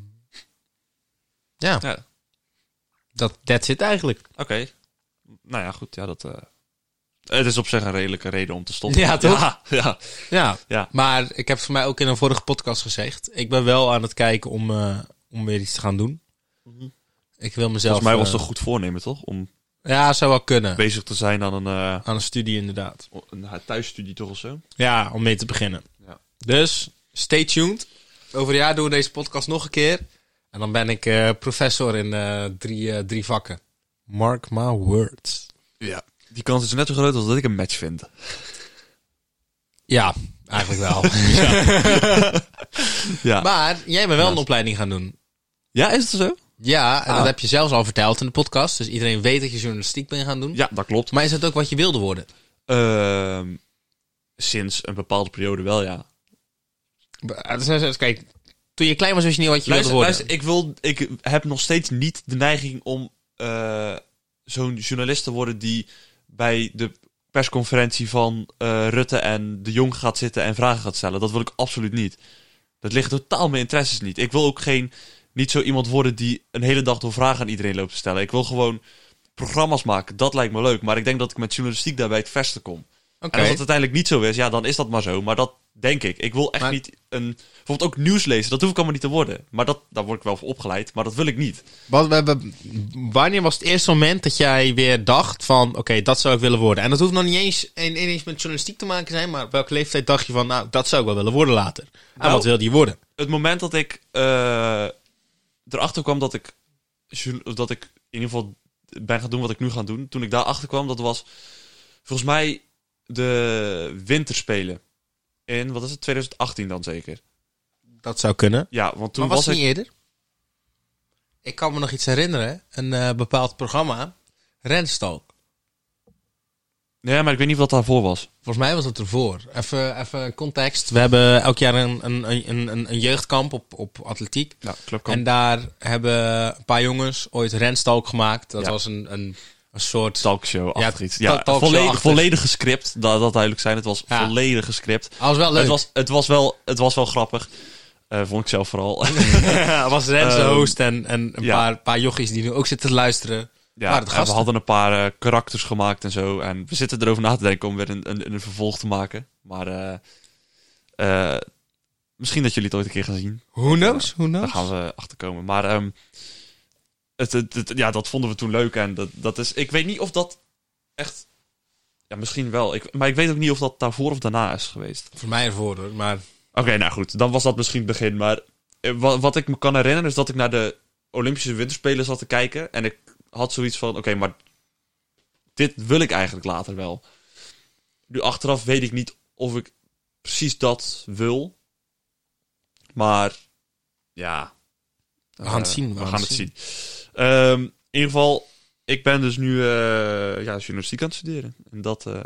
[SPEAKER 1] ja,
[SPEAKER 2] ja.
[SPEAKER 1] dat that's it eigenlijk.
[SPEAKER 2] Oké. Nou ja, goed, ja, dat... eh, het is op zich een redelijke reden om te stoppen.
[SPEAKER 1] Ja, toch?
[SPEAKER 2] Ja, ja.
[SPEAKER 1] Ja.
[SPEAKER 2] Ja.
[SPEAKER 1] Maar ik heb het voor mij ook in een vorige podcast gezegd. Ik ben wel aan het kijken om, eh, om weer iets te gaan doen. Ik wil mezelf...
[SPEAKER 2] Mhm. Volgens mij was
[SPEAKER 1] eh,
[SPEAKER 2] het een goed voornemen, toch? Om
[SPEAKER 1] Ja, zou wel kunnen.
[SPEAKER 2] bezig te zijn aan een, eh,
[SPEAKER 1] Aan een studie inderdaad.
[SPEAKER 2] een eh, thuisstudie toch of zo.
[SPEAKER 1] Ja, om mee te beginnen.
[SPEAKER 2] Ja.
[SPEAKER 1] Dus, stay tuned. Over een jaar doen we deze podcast nog een keer. En dan ben ik eh, professor in eh, drie, eh, drie vakken. Mark my words.
[SPEAKER 2] Ja. Die kans is net zo groot als dat ik een match vind.
[SPEAKER 1] Ja, eigenlijk [laughs] wel. [laughs]
[SPEAKER 2] Ja.
[SPEAKER 1] maar jij bent wel een opleiding gaan doen.
[SPEAKER 2] ja, is het zo?
[SPEAKER 1] Ja, en
[SPEAKER 2] Ah.
[SPEAKER 1] dat heb je zelfs al verteld in de podcast. Dus iedereen weet dat je journalistiek bent gaan doen.
[SPEAKER 2] Ja, dat klopt.
[SPEAKER 1] Maar is dat ook wat je wilde worden?
[SPEAKER 2] Ehm, sinds een bepaalde periode wel, ja.
[SPEAKER 1] eh, dus, Kijk, toen je klein was, wist je niet wat je
[SPEAKER 2] Luister,
[SPEAKER 1] wilde worden.
[SPEAKER 2] luister, ik, wil, ik heb nog steeds niet de neiging om eh, zo'n journalist te worden die bij de persconferentie van eh, Rutte en de Jong gaat zitten en vragen gaat stellen. Dat wil ik absoluut niet. Dat ligt totaal mijn interesses niet. Ik wil ook geen, niet zo iemand worden die een hele dag door vragen aan iedereen loopt te stellen. Ik wil gewoon programma's maken. Dat lijkt me leuk. Maar ik denk dat ik met journalistiek daarbij het verste kom.
[SPEAKER 1] Oké.
[SPEAKER 2] En als dat uiteindelijk niet zo is, ja, dan is dat maar zo. Maar dat denk ik. Ik wil echt
[SPEAKER 1] Maar-
[SPEAKER 2] niet een... Bijvoorbeeld ook nieuws lezen, dat hoef ik allemaal niet te worden. Maar dat, daar word ik wel voor opgeleid, maar dat wil ik niet.
[SPEAKER 1] Wat, we hebben- wanneer was het eerste moment dat jij weer dacht van... Oké, dat zou ik willen worden. En dat hoeft nog niet eens, en, eens met journalistiek te maken te zijn. Maar op welke leeftijd dacht je van... Nou, dat zou ik wel willen worden later. En
[SPEAKER 2] Nou,
[SPEAKER 1] wat wilde je worden?
[SPEAKER 2] Het moment dat ik eh, erachter kwam dat ik, jour- of dat ik in ieder geval ben gaan doen wat ik nu ga doen. Toen ik daarachter kwam, dat was volgens mij de winterspelen. In, wat is het, 2018 dan zeker?
[SPEAKER 1] Dat zou kunnen.
[SPEAKER 2] Ja, want toen
[SPEAKER 1] maar was,
[SPEAKER 2] was,
[SPEAKER 1] het
[SPEAKER 2] ik...
[SPEAKER 1] niet eerder? Ik kan me nog iets herinneren. Een eh, bepaald programma. Renstalk.
[SPEAKER 2] Nee, maar ik weet niet wat daarvoor was.
[SPEAKER 1] Volgens mij was het ervoor. Even, even context. We hebben elk jaar een, een, een, een, een jeugdkamp op, op atletiek.
[SPEAKER 2] Ja,
[SPEAKER 1] En daar hebben een paar jongens ooit renstalk gemaakt. Dat
[SPEAKER 2] Ja.
[SPEAKER 1] was een, een, een soort...
[SPEAKER 2] talkshow achter
[SPEAKER 1] Ja,
[SPEAKER 2] iets. Ja,
[SPEAKER 1] ta- talkshow
[SPEAKER 2] volledig,
[SPEAKER 1] achter.
[SPEAKER 2] volledig gescript. Dat, dat duidelijk zijn. Het was
[SPEAKER 1] Ja.
[SPEAKER 2] volledig gescript.
[SPEAKER 1] Dat Ah, was wel leuk.
[SPEAKER 2] Het [laughs] was, het was, wel, het was wel grappig. Eh, vond ik zelf vooral. [laughs]
[SPEAKER 1] Ja, was Rens de
[SPEAKER 2] Ehm,
[SPEAKER 1] host en, en een
[SPEAKER 2] ja.
[SPEAKER 1] paar, paar jochies die nu ook zitten te luisteren.
[SPEAKER 2] ja,
[SPEAKER 1] Waren het
[SPEAKER 2] en we
[SPEAKER 1] gasten?
[SPEAKER 2] hadden een paar eh, karakters gemaakt en zo. En we zitten erover na te denken om weer een, een, een vervolg te maken. Maar eh, eh, misschien dat jullie het ooit een keer gaan zien.
[SPEAKER 1] Who knows? Who
[SPEAKER 2] Daar
[SPEAKER 1] knows?
[SPEAKER 2] gaan we achter komen. Maar ehm, het, het, het- ja, dat vonden we toen leuk. En dat, dat is, ik weet niet of dat echt. Ja, misschien wel. Ik, maar ik weet ook niet of dat daarvoor of daarna is geweest.
[SPEAKER 1] Voor mij ervoor hoor, maar...
[SPEAKER 2] Oké, nou goed. Dan was dat misschien het begin. Maar eh, wat, wat ik me kan herinneren is dat ik naar de Olympische Winterspelen zat te kijken. En ik had zoiets van: oké, maar dit wil ik eigenlijk later wel. Nu achteraf weet ik niet of ik precies dat wil. Maar ja.
[SPEAKER 1] We gaan het
[SPEAKER 2] Eh,
[SPEAKER 1] zien,
[SPEAKER 2] We, gaan het zien. Ehm, in ieder geval, ik ben dus nu eh, ja, journalistiek aan het studeren. En dat, eh,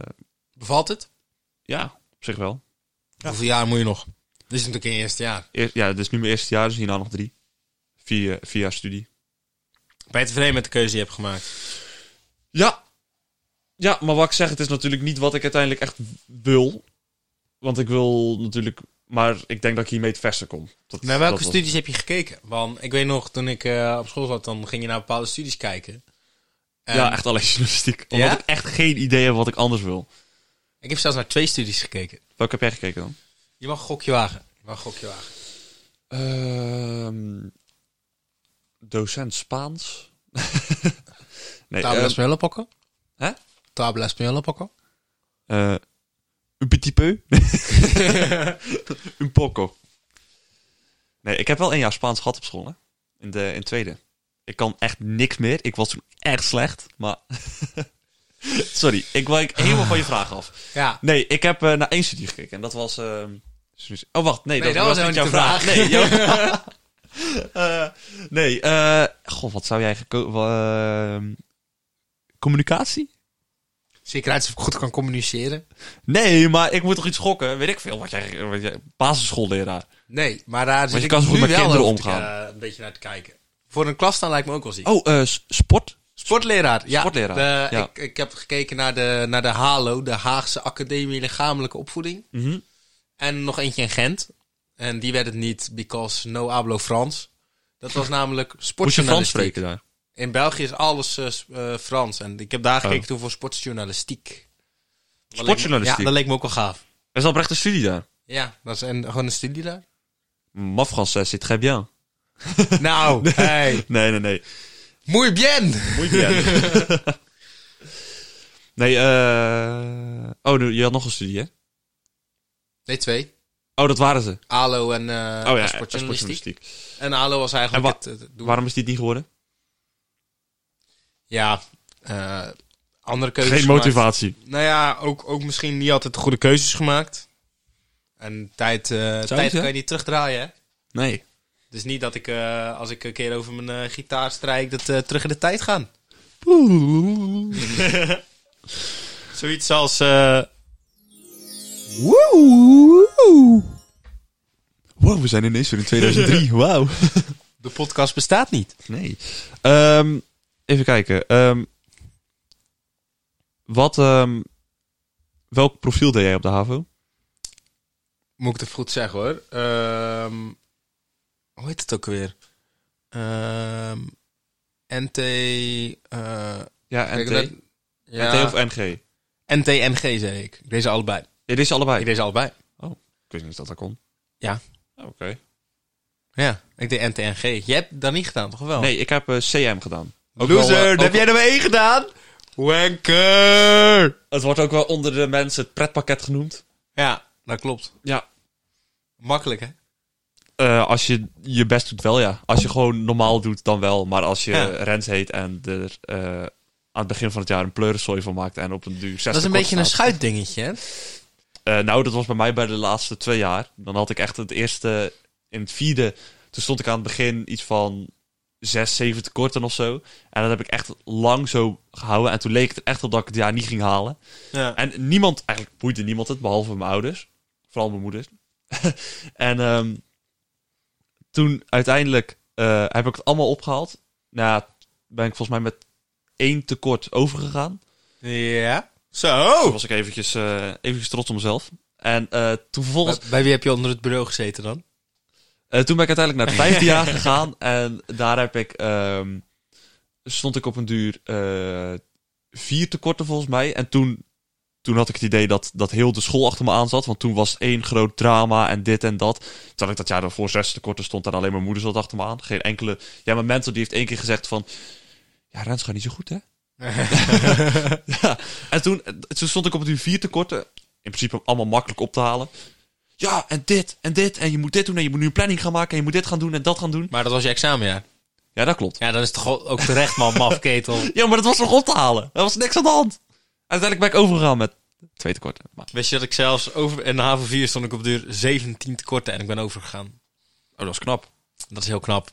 [SPEAKER 1] Bevalt het?
[SPEAKER 2] ja, op zich wel.
[SPEAKER 1] Hoeveel jaar moet je nog? Dit is natuurlijk in het eerste jaar.
[SPEAKER 2] Eer- ja, dit is nu mijn eerste jaar, dus hierna nog drie. Vier, vier jaar studie.
[SPEAKER 1] Ben je tevreden met de keuze die je hebt gemaakt?
[SPEAKER 2] Ja. Ja, maar wat ik zeg, het is natuurlijk niet wat ik uiteindelijk echt wil. Want ik wil natuurlijk... Maar ik denk dat ik hiermee het verste kom. Dat,
[SPEAKER 1] Naar welke
[SPEAKER 2] dat was-
[SPEAKER 1] studies heb je gekeken? Want ik weet nog, toen ik eh, op school zat, dan ging je naar bepaalde studies kijken. En
[SPEAKER 2] Ja, echt alleen journalistiek. Omdat
[SPEAKER 1] Ja?
[SPEAKER 2] ik echt geen idee heb wat ik anders wil.
[SPEAKER 1] Ik heb zelfs naar twee studies gekeken.
[SPEAKER 2] Welke heb jij gekeken dan?
[SPEAKER 1] Je mag een gokje wagen. Je mag een gokje wagen.
[SPEAKER 2] Ehm, docent Spaans. [laughs] nee,
[SPEAKER 1] Tabla
[SPEAKER 2] ehm,
[SPEAKER 1] española poco?
[SPEAKER 2] hè?
[SPEAKER 1] Tabla española poco?
[SPEAKER 2] eh, een petit peu. [laughs] een poco. Nee, ik heb wel een jaar Spaans gehad op school, hè? In de in het tweede. Ik kan echt niks meer. Ik was toen echt slecht, maar... [laughs] Sorry, ik wijk helemaal van je vraag af.
[SPEAKER 1] Ja.
[SPEAKER 2] Nee, ik heb eh, naar één studie gekeken en dat was... ehm, Oh, wacht, nee,
[SPEAKER 1] Nee,
[SPEAKER 2] dat, was niet jouw vraag.
[SPEAKER 1] de
[SPEAKER 2] Nee, jouw... [laughs] Eh, nee eh, goh, wat zou jij... geko- wa- ehm, communicatie?
[SPEAKER 1] Zeker uit of ik goed kan communiceren.
[SPEAKER 2] Nee, maar ik moet toch iets schokken? Weet ik veel. Wat jij, wat jij basisschoolleraar.
[SPEAKER 1] Nee, maar daar zit
[SPEAKER 2] je
[SPEAKER 1] ik
[SPEAKER 2] kan zo goed
[SPEAKER 1] nu
[SPEAKER 2] met
[SPEAKER 1] wel
[SPEAKER 2] kinderen
[SPEAKER 1] over te-
[SPEAKER 2] omgaan.
[SPEAKER 1] eh, een beetje naar te kijken. Voor een klas staan lijkt me ook wel ziek.
[SPEAKER 2] Oh, eh, s- sport?
[SPEAKER 1] Sportleraar, ja.
[SPEAKER 2] Sportleraar,
[SPEAKER 1] De-
[SPEAKER 2] ja.
[SPEAKER 1] Ik, ik heb gekeken naar de, naar de HALO, de Haagse Academie Lichamelijke Opvoeding.
[SPEAKER 2] Mhm.
[SPEAKER 1] En nog eentje in Gent. En die werd het niet, because no hablo Frans. Dat was
[SPEAKER 2] [laughs]
[SPEAKER 1] namelijk
[SPEAKER 2] Moet je Frans
[SPEAKER 1] sportjournalistiek.
[SPEAKER 2] spreken daar?
[SPEAKER 1] In België is alles eh, s- eh, Frans. En ik heb daar gekeken toen voor sportjournalistiek. Dat leek me-
[SPEAKER 2] Oh. Sportjournalistiek?
[SPEAKER 1] Ja, dat leek me ook wel gaaf.
[SPEAKER 2] Er is oprecht een studie daar.
[SPEAKER 1] Ja, dat is een, gewoon een studie daar. [laughs]
[SPEAKER 2] Ma français, c'est eh, très bien.
[SPEAKER 1] nou, hey,
[SPEAKER 2] Nee, nee, nee.
[SPEAKER 1] muy bien!
[SPEAKER 2] Moet je [laughs] Nee, eh... Oh, nu- je had nog een studie, hè?
[SPEAKER 1] Nee, twee.
[SPEAKER 2] Oh, dat waren ze.
[SPEAKER 1] ALO en eh
[SPEAKER 2] Oh ja,
[SPEAKER 1] sportjournalistiek.
[SPEAKER 2] sportjournalistiek.
[SPEAKER 1] En ALO was eigenlijk
[SPEAKER 2] En wa-
[SPEAKER 1] het, het doel.
[SPEAKER 2] Waarom is die het niet geworden?
[SPEAKER 1] Ja, eh, andere keuzes
[SPEAKER 2] Geen
[SPEAKER 1] gemaakt.
[SPEAKER 2] motivatie.
[SPEAKER 1] Nou ja, ook, ook misschien niet altijd de goede keuzes gemaakt. En tijd, eh, tijd
[SPEAKER 2] zijn?
[SPEAKER 1] kan je niet terugdraaien, hè?
[SPEAKER 2] Nee.
[SPEAKER 1] Dus niet dat ik, eh, als ik een keer over mijn eh, gitaar strijk, dat eh, terug in de tijd gaan. Zoiets als... eh,
[SPEAKER 2] Wow, we zijn ineens weer
[SPEAKER 1] [laughs]
[SPEAKER 2] in 2003. Wauw.
[SPEAKER 1] de podcast bestaat niet.
[SPEAKER 2] Nee. Ehm, even kijken. Ehm, wat, ehm, welk profiel deed jij op de HAVO?
[SPEAKER 1] Moet ik het goed zeggen, hoor. Ehm, hoe heet het ook weer? Ehm, NT... eh,
[SPEAKER 2] Ja,
[SPEAKER 1] kijk,
[SPEAKER 2] NT.
[SPEAKER 1] dat-
[SPEAKER 2] NT
[SPEAKER 1] ja,
[SPEAKER 2] of NG?
[SPEAKER 1] NTNG, zei ik. Deze allebei.
[SPEAKER 2] Ja, dit is allebei.
[SPEAKER 1] Ik deed ze allebei.
[SPEAKER 2] Ik wist niet dat dat kon. Oh,
[SPEAKER 1] Ja.
[SPEAKER 2] Oké.
[SPEAKER 1] Ja, ik deed NTNG. Jij hebt dat niet gedaan, toch wel?
[SPEAKER 2] Nee, ik heb eh, CM gedaan. Ook
[SPEAKER 1] Loser,
[SPEAKER 2] wel, eh,
[SPEAKER 1] dat
[SPEAKER 2] ook-
[SPEAKER 1] heb jij er maar één gedaan? Wanker!
[SPEAKER 2] Het wordt ook wel onder de mensen het pretpakket genoemd.
[SPEAKER 1] Ja, dat klopt.
[SPEAKER 2] Ja.
[SPEAKER 1] Makkelijk, hè?
[SPEAKER 2] Eh, als je je best doet, wel ja. Als je gewoon normaal doet, dan wel. Maar als je
[SPEAKER 1] Ja.
[SPEAKER 2] Rens heet en er eh, aan het begin van het jaar een pleurensooi van maakt en op een duur 60
[SPEAKER 1] Dat is een
[SPEAKER 2] kort
[SPEAKER 1] beetje een
[SPEAKER 2] staat.
[SPEAKER 1] schuitdingetje, hè?
[SPEAKER 2] Eh, nou, dat was bij mij bij de laatste twee jaar. Dan had ik echt het eerste in het vierde. Toen stond ik aan het begin iets van zes, zeven tekorten of zo. En dat heb ik echt lang zo gehouden. En toen leek het er echt op dat ik het jaar niet ging halen.
[SPEAKER 1] Ja.
[SPEAKER 2] En niemand, eigenlijk boeide niemand het, behalve mijn ouders. Vooral mijn moeder. [laughs] en ehm, toen uiteindelijk eh, heb ik het allemaal opgehaald. Nou, ben ik volgens mij met één tekort overgegaan.
[SPEAKER 1] ja.
[SPEAKER 2] Toen
[SPEAKER 1] Zo!
[SPEAKER 2] was ik eventjes, eh, eventjes trots op mezelf. En eh, toen vervolgens...
[SPEAKER 1] Bij, bij wie heb je onder het bureau gezeten dan?
[SPEAKER 2] Eh, toen ben ik uiteindelijk naar het vijfde jaar gegaan. En daar heb ik, ehm, stond ik op een duur eh, vier tekorten volgens mij. En toen, toen had ik het idee dat, dat heel de school achter me aan zat. Want toen was het één groot drama en dit en dat. Terwijl ik dat jaar daarvoor zes tekorten stond en alleen mijn moeder zat achter me aan. Geen enkele... Ja, mijn mentor die heeft één keer gezegd van... Ja, Rens gaat niet zo goed, hè? [laughs] ja. En toen, toen stond ik op het uur vier tekorten. In principe allemaal makkelijk op te halen. Ja, en dit, en dit, en je moet dit doen, en je moet nu een planning gaan maken, en je moet dit gaan doen, en dat gaan doen.
[SPEAKER 1] [laughs] Maar dat was je examenjaar.
[SPEAKER 2] Ja, dat klopt.
[SPEAKER 1] Ja, dan is het toch ook terecht, man, mafketel.
[SPEAKER 2] Ja, maar dat was nog op te halen. Er was niks aan de hand. Uiteindelijk ben ik overgegaan met twee tekorten. Maar,
[SPEAKER 1] Wist je dat ik zelfs over... In de haven 4 stond ik op de duur 17 tekorten en ik ben overgegaan.
[SPEAKER 2] oh, dat is knap.
[SPEAKER 1] Dat is heel knap.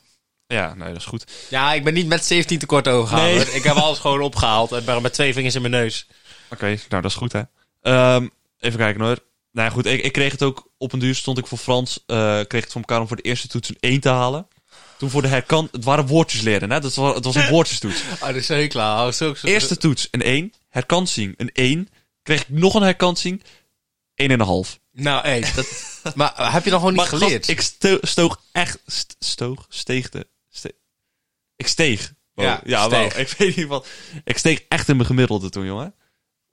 [SPEAKER 2] Ja, nee, dat is goed.
[SPEAKER 1] Ja, ik ben niet met 17 tekorten overgegaan.
[SPEAKER 2] Nee.
[SPEAKER 1] hoor. Ik heb alles gewoon opgehaald en ben met twee vingers in mijn neus.
[SPEAKER 2] Oké, nou, dat is goed, hè. Ehm, even kijken hoor. Nou ja, goed, ik, ik kreeg het ook op een duur, stond ik voor Frans, eh, kreeg ik het voor elkaar om voor de eerste toets een 1 te halen. Toen voor de herkant, het waren woordjes leren, hè. Dat was, het was een woordjestoets.
[SPEAKER 1] Oh, dat is heel klaar. Oh, zulke-
[SPEAKER 2] Eerste toets een 1, herkansing een 1, kreeg ik nog een herkansing, 1,5.
[SPEAKER 1] Nou, hé, dat... [laughs] maar heb je dan gewoon niet
[SPEAKER 2] Maar gast,
[SPEAKER 1] geleerd?
[SPEAKER 2] ik sto- stoog echt. st- stoog? Steegde. ste- ik steeg. Wow.
[SPEAKER 1] Ja,
[SPEAKER 2] Ja,
[SPEAKER 1] steeg.
[SPEAKER 2] wow. Ik weet niet wat. Ik steeg echt in mijn gemiddelde toen, jongen.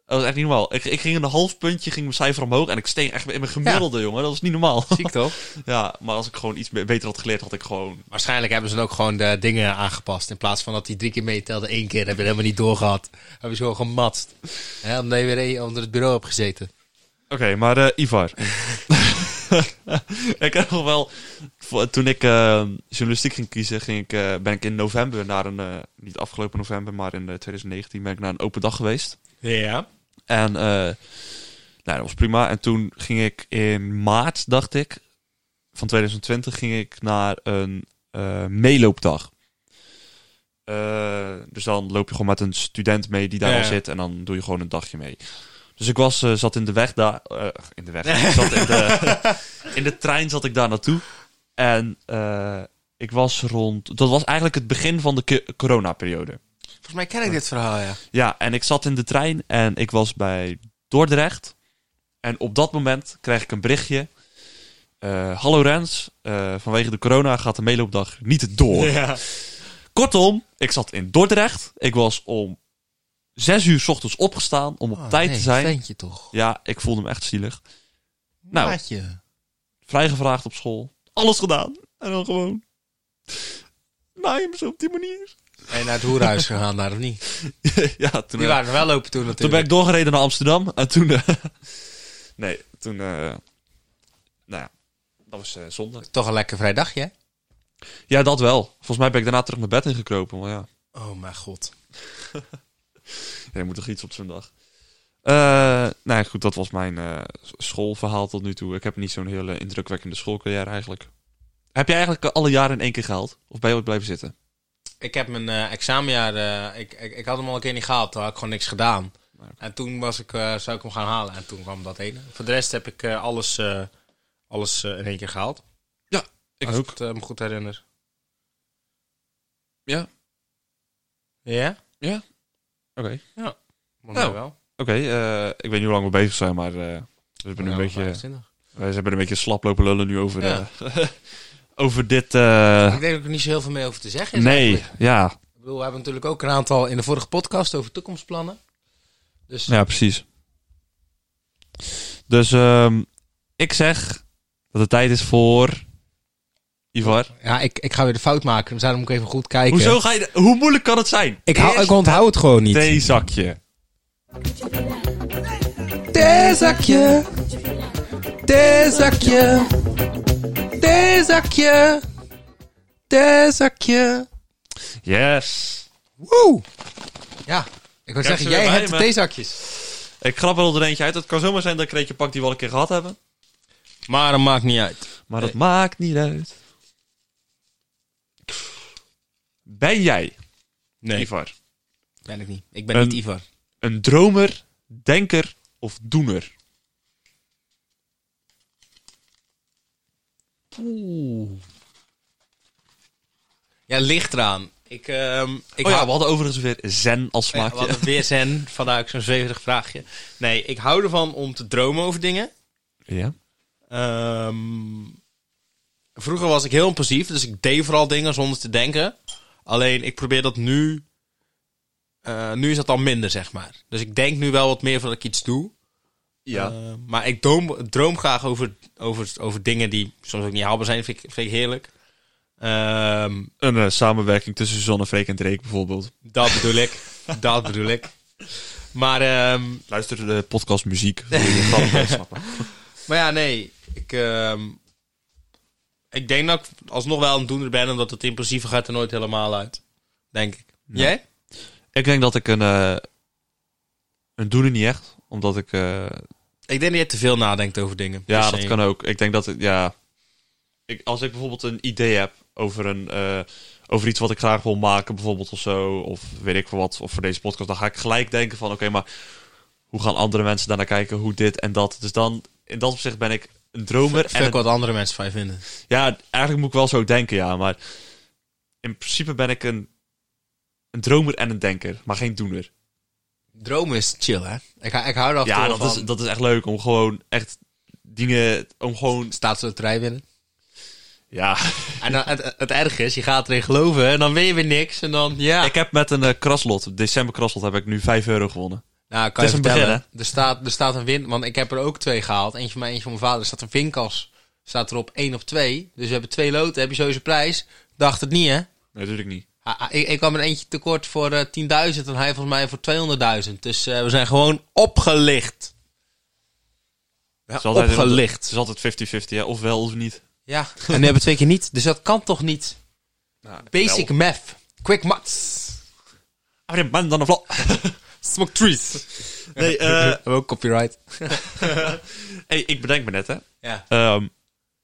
[SPEAKER 2] Dat was echt niet normaal. Ik, ik ging een half puntje, ging mijn cijfer omhoog. En ik steeg echt in mijn gemiddelde, jongen. Dat was niet normaal. [laughs]
[SPEAKER 1] Ziek toch?
[SPEAKER 2] ja, maar als ik gewoon iets be- beter had geleerd, had ik gewoon.
[SPEAKER 1] [laughs] Waarschijnlijk hebben ze dan ook gewoon de dingen aangepast. In plaats van dat die drie keer meetelde, één keer heb je helemaal niet doorgehad. Heb je zo gematst. Hè, omdat je weer één onder het bureau hebt gezeten.
[SPEAKER 2] Oké, maar eh, Ivar. [laughs] ik heb nog wel. voor- Toen ik eh, journalistiek ging kiezen, ging ik, eh, ben ik in november naar een. eh, niet afgelopen november, maar in eh, 2019 ben ik naar een open dag geweest.
[SPEAKER 1] Ja.
[SPEAKER 2] En eh, nou, dat was prima. En toen ging ik in maart, dacht ik, van 2020, ging ik naar een eh, meeloopdag. Eh, dus dan loop je gewoon met een student mee die daar
[SPEAKER 1] Ja,
[SPEAKER 2] al
[SPEAKER 1] ja.
[SPEAKER 2] zit en dan doe je gewoon een dagje mee. Dus ik was, eh, zat in de weg daar. eh, in de weg. ik zat in, de,
[SPEAKER 1] [laughs]
[SPEAKER 2] in de trein zat ik daar naartoe. En eh, ik was rond. Dat was eigenlijk het begin van de ki- coronaperiode.
[SPEAKER 1] Volgens mij ken ik dit verhaal, ja.
[SPEAKER 2] Ja, en ik zat in de trein en ik was bij Dordrecht. En op dat moment kreeg ik een berichtje. Eh, Hallo Rens, eh, vanwege de corona gaat de meeloopdag niet door.
[SPEAKER 1] Oh,
[SPEAKER 2] Kortom, ik zat in Dordrecht. Ik was om zes uur 's ochtends opgestaan om op
[SPEAKER 1] Oh,
[SPEAKER 2] tijd
[SPEAKER 1] nee,
[SPEAKER 2] te zijn.
[SPEAKER 1] ventje toch.
[SPEAKER 2] Ja, ik voelde me echt zielig. Nou.
[SPEAKER 1] Maatje.
[SPEAKER 2] Vrijgevraagd op school. Alles gedaan. En dan gewoon... Naaien me zo op die manier.
[SPEAKER 1] En naar het hoerhuis gegaan daar, of niet?
[SPEAKER 2] ja, toen,
[SPEAKER 1] Die
[SPEAKER 2] eh,
[SPEAKER 1] waren nog wel open toen
[SPEAKER 2] toen ben
[SPEAKER 1] natuurlijk.
[SPEAKER 2] ik doorgereden naar Amsterdam. En toen... eh, [laughs] nee, toen... eh, nou ja, dat was eh, zonde.
[SPEAKER 1] Toch een lekker vrij dagje, hè?
[SPEAKER 2] Ja, dat wel. Volgens mij ben ik daarna terug mijn bed ingekropen. Maar ja,
[SPEAKER 1] Oh mijn god.
[SPEAKER 2] ja, je moet toch iets op zijn dag. Eh, nou ja, goed, dat was mijn eh, s- schoolverhaal tot nu toe. Ik heb niet zo'n hele indrukwekkende schoolcarrière eigenlijk. Heb jij eigenlijk alle jaren in één keer gehaald? Of ben je ooit blijven zitten?
[SPEAKER 1] Ik heb mijn eh, examenjaar... eh, ik, ik, ik had hem al een keer niet gehaald. Toen had ik gewoon niks gedaan. En toen was ik, eh, zou ik hem gaan halen. En toen kwam dat ene. Voor de rest heb ik eh, alles, eh, alles eh, in één keer gehaald.
[SPEAKER 2] Ik
[SPEAKER 1] als ik het, eh, me goed herinner.
[SPEAKER 2] Ja.
[SPEAKER 1] Ja?
[SPEAKER 2] Oké.
[SPEAKER 1] Volgens mij
[SPEAKER 2] Oh.
[SPEAKER 1] wel.
[SPEAKER 2] Oké, eh, ik weet niet hoe lang we bezig zijn, maar eh, we, hebben een beetje, we hebben een beetje slap lopen lullen nu over,
[SPEAKER 1] Ja.
[SPEAKER 2] eh, [laughs] over dit... eh,
[SPEAKER 1] Ik denk dat ik er niet zo heel veel meer over te zeggen is.
[SPEAKER 2] nee,
[SPEAKER 1] eigenlijk.
[SPEAKER 2] ja.
[SPEAKER 1] Ik bedoel, we hebben natuurlijk ook een aantal in de vorige podcast over toekomstplannen. Dus
[SPEAKER 2] ja, precies. Dus ehm, ik zeg dat het tijd is voor... Ivar.
[SPEAKER 1] ja, ik, ik ga weer de fout maken. Dus daarom moet ik even goed kijken.
[SPEAKER 2] Hoezo ga je... de- Hoe moeilijk kan het zijn?
[SPEAKER 1] Ik, hou, ik onthoud het gewoon niet.
[SPEAKER 2] theezakje.
[SPEAKER 1] Theezakje. Theezakje. Theezakje. Theezakje.
[SPEAKER 2] Yes.
[SPEAKER 1] Woe. Ja, ik wil
[SPEAKER 2] Kijk, ze
[SPEAKER 1] zeggen,
[SPEAKER 2] weer
[SPEAKER 1] jij
[SPEAKER 2] bij
[SPEAKER 1] hebt de
[SPEAKER 2] me.
[SPEAKER 1] theezakjes.
[SPEAKER 2] Ik grap wel er eentje uit. Het kan zomaar zijn dat ik er eentje pak die we al een keer gehad hebben.
[SPEAKER 1] Maar dat maakt niet uit.
[SPEAKER 2] Maar dat maakt niet uit. Ben jij,
[SPEAKER 1] Nee,
[SPEAKER 2] Ivar,
[SPEAKER 1] ben ik niet. Ik ben
[SPEAKER 2] Een-
[SPEAKER 1] niet Ivar.
[SPEAKER 2] een dromer, denker of doener?
[SPEAKER 1] Ja, ligt eraan. Ik, ehm, ik
[SPEAKER 2] oh ja,
[SPEAKER 1] hou- eh,
[SPEAKER 2] we hadden overigens weer zen als
[SPEAKER 1] Ja, we
[SPEAKER 2] smaakje.
[SPEAKER 1] hadden weer zen, vandaar ook zo'n zweverig vraagje. Nee, ik hou ervan om te dromen over dingen.
[SPEAKER 2] Ja.
[SPEAKER 1] Ehm, vroeger was ik heel impulsief, dus ik deed vooral dingen zonder te denken. Alleen ik probeer dat nu. eh, nu is dat al minder, zeg maar. Dus ik denk nu wel wat meer voordat ik iets doe. Eh, maar ik droom, droom graag over, over, over dingen die soms ook niet haalbaar zijn. Vind ik, vind ik heerlijk. Ehm,
[SPEAKER 2] een eh, samenwerking tussen Suzanne, Freek en Dreek bijvoorbeeld.
[SPEAKER 1] dat bedoel ik. dat bedoel ik. Maar ehm,
[SPEAKER 2] Luister de podcast muziek. zodat je het grappig blijft snappen.
[SPEAKER 1] Maar ja, nee. Ik, ehm, ik denk dat ik alsnog wel een doener ben, omdat het impulsieve gaat er nooit helemaal uit. Denk ik. Jij?
[SPEAKER 2] ik denk dat ik een... eh, een doener niet echt. Omdat ik... eh,
[SPEAKER 1] Ik denk dat je te veel nadenkt over dingen. Dus
[SPEAKER 2] Ja,
[SPEAKER 1] per
[SPEAKER 2] dat
[SPEAKER 1] se.
[SPEAKER 2] kan ook. Ik denk dat het, ja. Ik, als ik bijvoorbeeld een idee heb over, een, eh, over iets wat ik graag wil maken, bijvoorbeeld of zo, of weet ik veel wat, of voor deze podcast, dan ga ik gelijk denken van: oké, maar hoe gaan andere mensen daarnaar kijken, hoe dit en dat. Dus dan, in dat opzicht ben ik een dromer.
[SPEAKER 1] Fuck
[SPEAKER 2] en een-
[SPEAKER 1] wat andere mensen van je vinden.
[SPEAKER 2] ja, eigenlijk moet ik wel zo denken, ja, maar in principe ben ik een, een dromer en een denker, maar geen doener.
[SPEAKER 1] Dromen is chill, hè? Ik, hou- ik hou er af en
[SPEAKER 2] Ja,
[SPEAKER 1] toe
[SPEAKER 2] dat
[SPEAKER 1] wel
[SPEAKER 2] is,
[SPEAKER 1] van.
[SPEAKER 2] dat is echt leuk om gewoon echt dingen, om gewoon,
[SPEAKER 1] Staatsloterij winnen.
[SPEAKER 2] ja.
[SPEAKER 1] En dan, het, het erg is, je gaat erin geloven en dan win je weer niks. En dan, ja.
[SPEAKER 2] [laughs] Ik heb met een eh, kraslot, december kraslot, heb ik nu 5 euro gewonnen.
[SPEAKER 1] nou, kan
[SPEAKER 2] het
[SPEAKER 1] je
[SPEAKER 2] is een
[SPEAKER 1] vertellen.
[SPEAKER 2] begin,
[SPEAKER 1] er, staat, er staat een win, want ik heb er ook twee gehaald. Eentje van mij, eentje van mijn vader. Er staat een vinkas. Staat erop één op twee. Dus we hebben twee loten. Heb je sowieso een prijs? Dacht het niet, hè?
[SPEAKER 2] Nee, natuurlijk niet.
[SPEAKER 1] Ah, ah, ik, ik kwam er eentje tekort voor eh, 10.000 en hij volgens mij voor 200.000. Dus eh, we zijn gewoon opgelicht. Ja,
[SPEAKER 2] Het is altijd- Het
[SPEAKER 1] opgelicht.
[SPEAKER 2] is altijd 50-50, ja. of wel of niet.
[SPEAKER 1] Ja, en nu hebben we twee keer niet. Dus dat kan toch niet?
[SPEAKER 2] Nou,
[SPEAKER 1] Basic math. Quick maths.
[SPEAKER 2] Abrim, man, dan een vlog.
[SPEAKER 1] [laughs] Smoke trees.
[SPEAKER 2] Nee, eh,
[SPEAKER 1] Hebben we ook copyright.
[SPEAKER 2] hey, ik bedenk me net, hè.
[SPEAKER 1] Ja.
[SPEAKER 2] Ehm,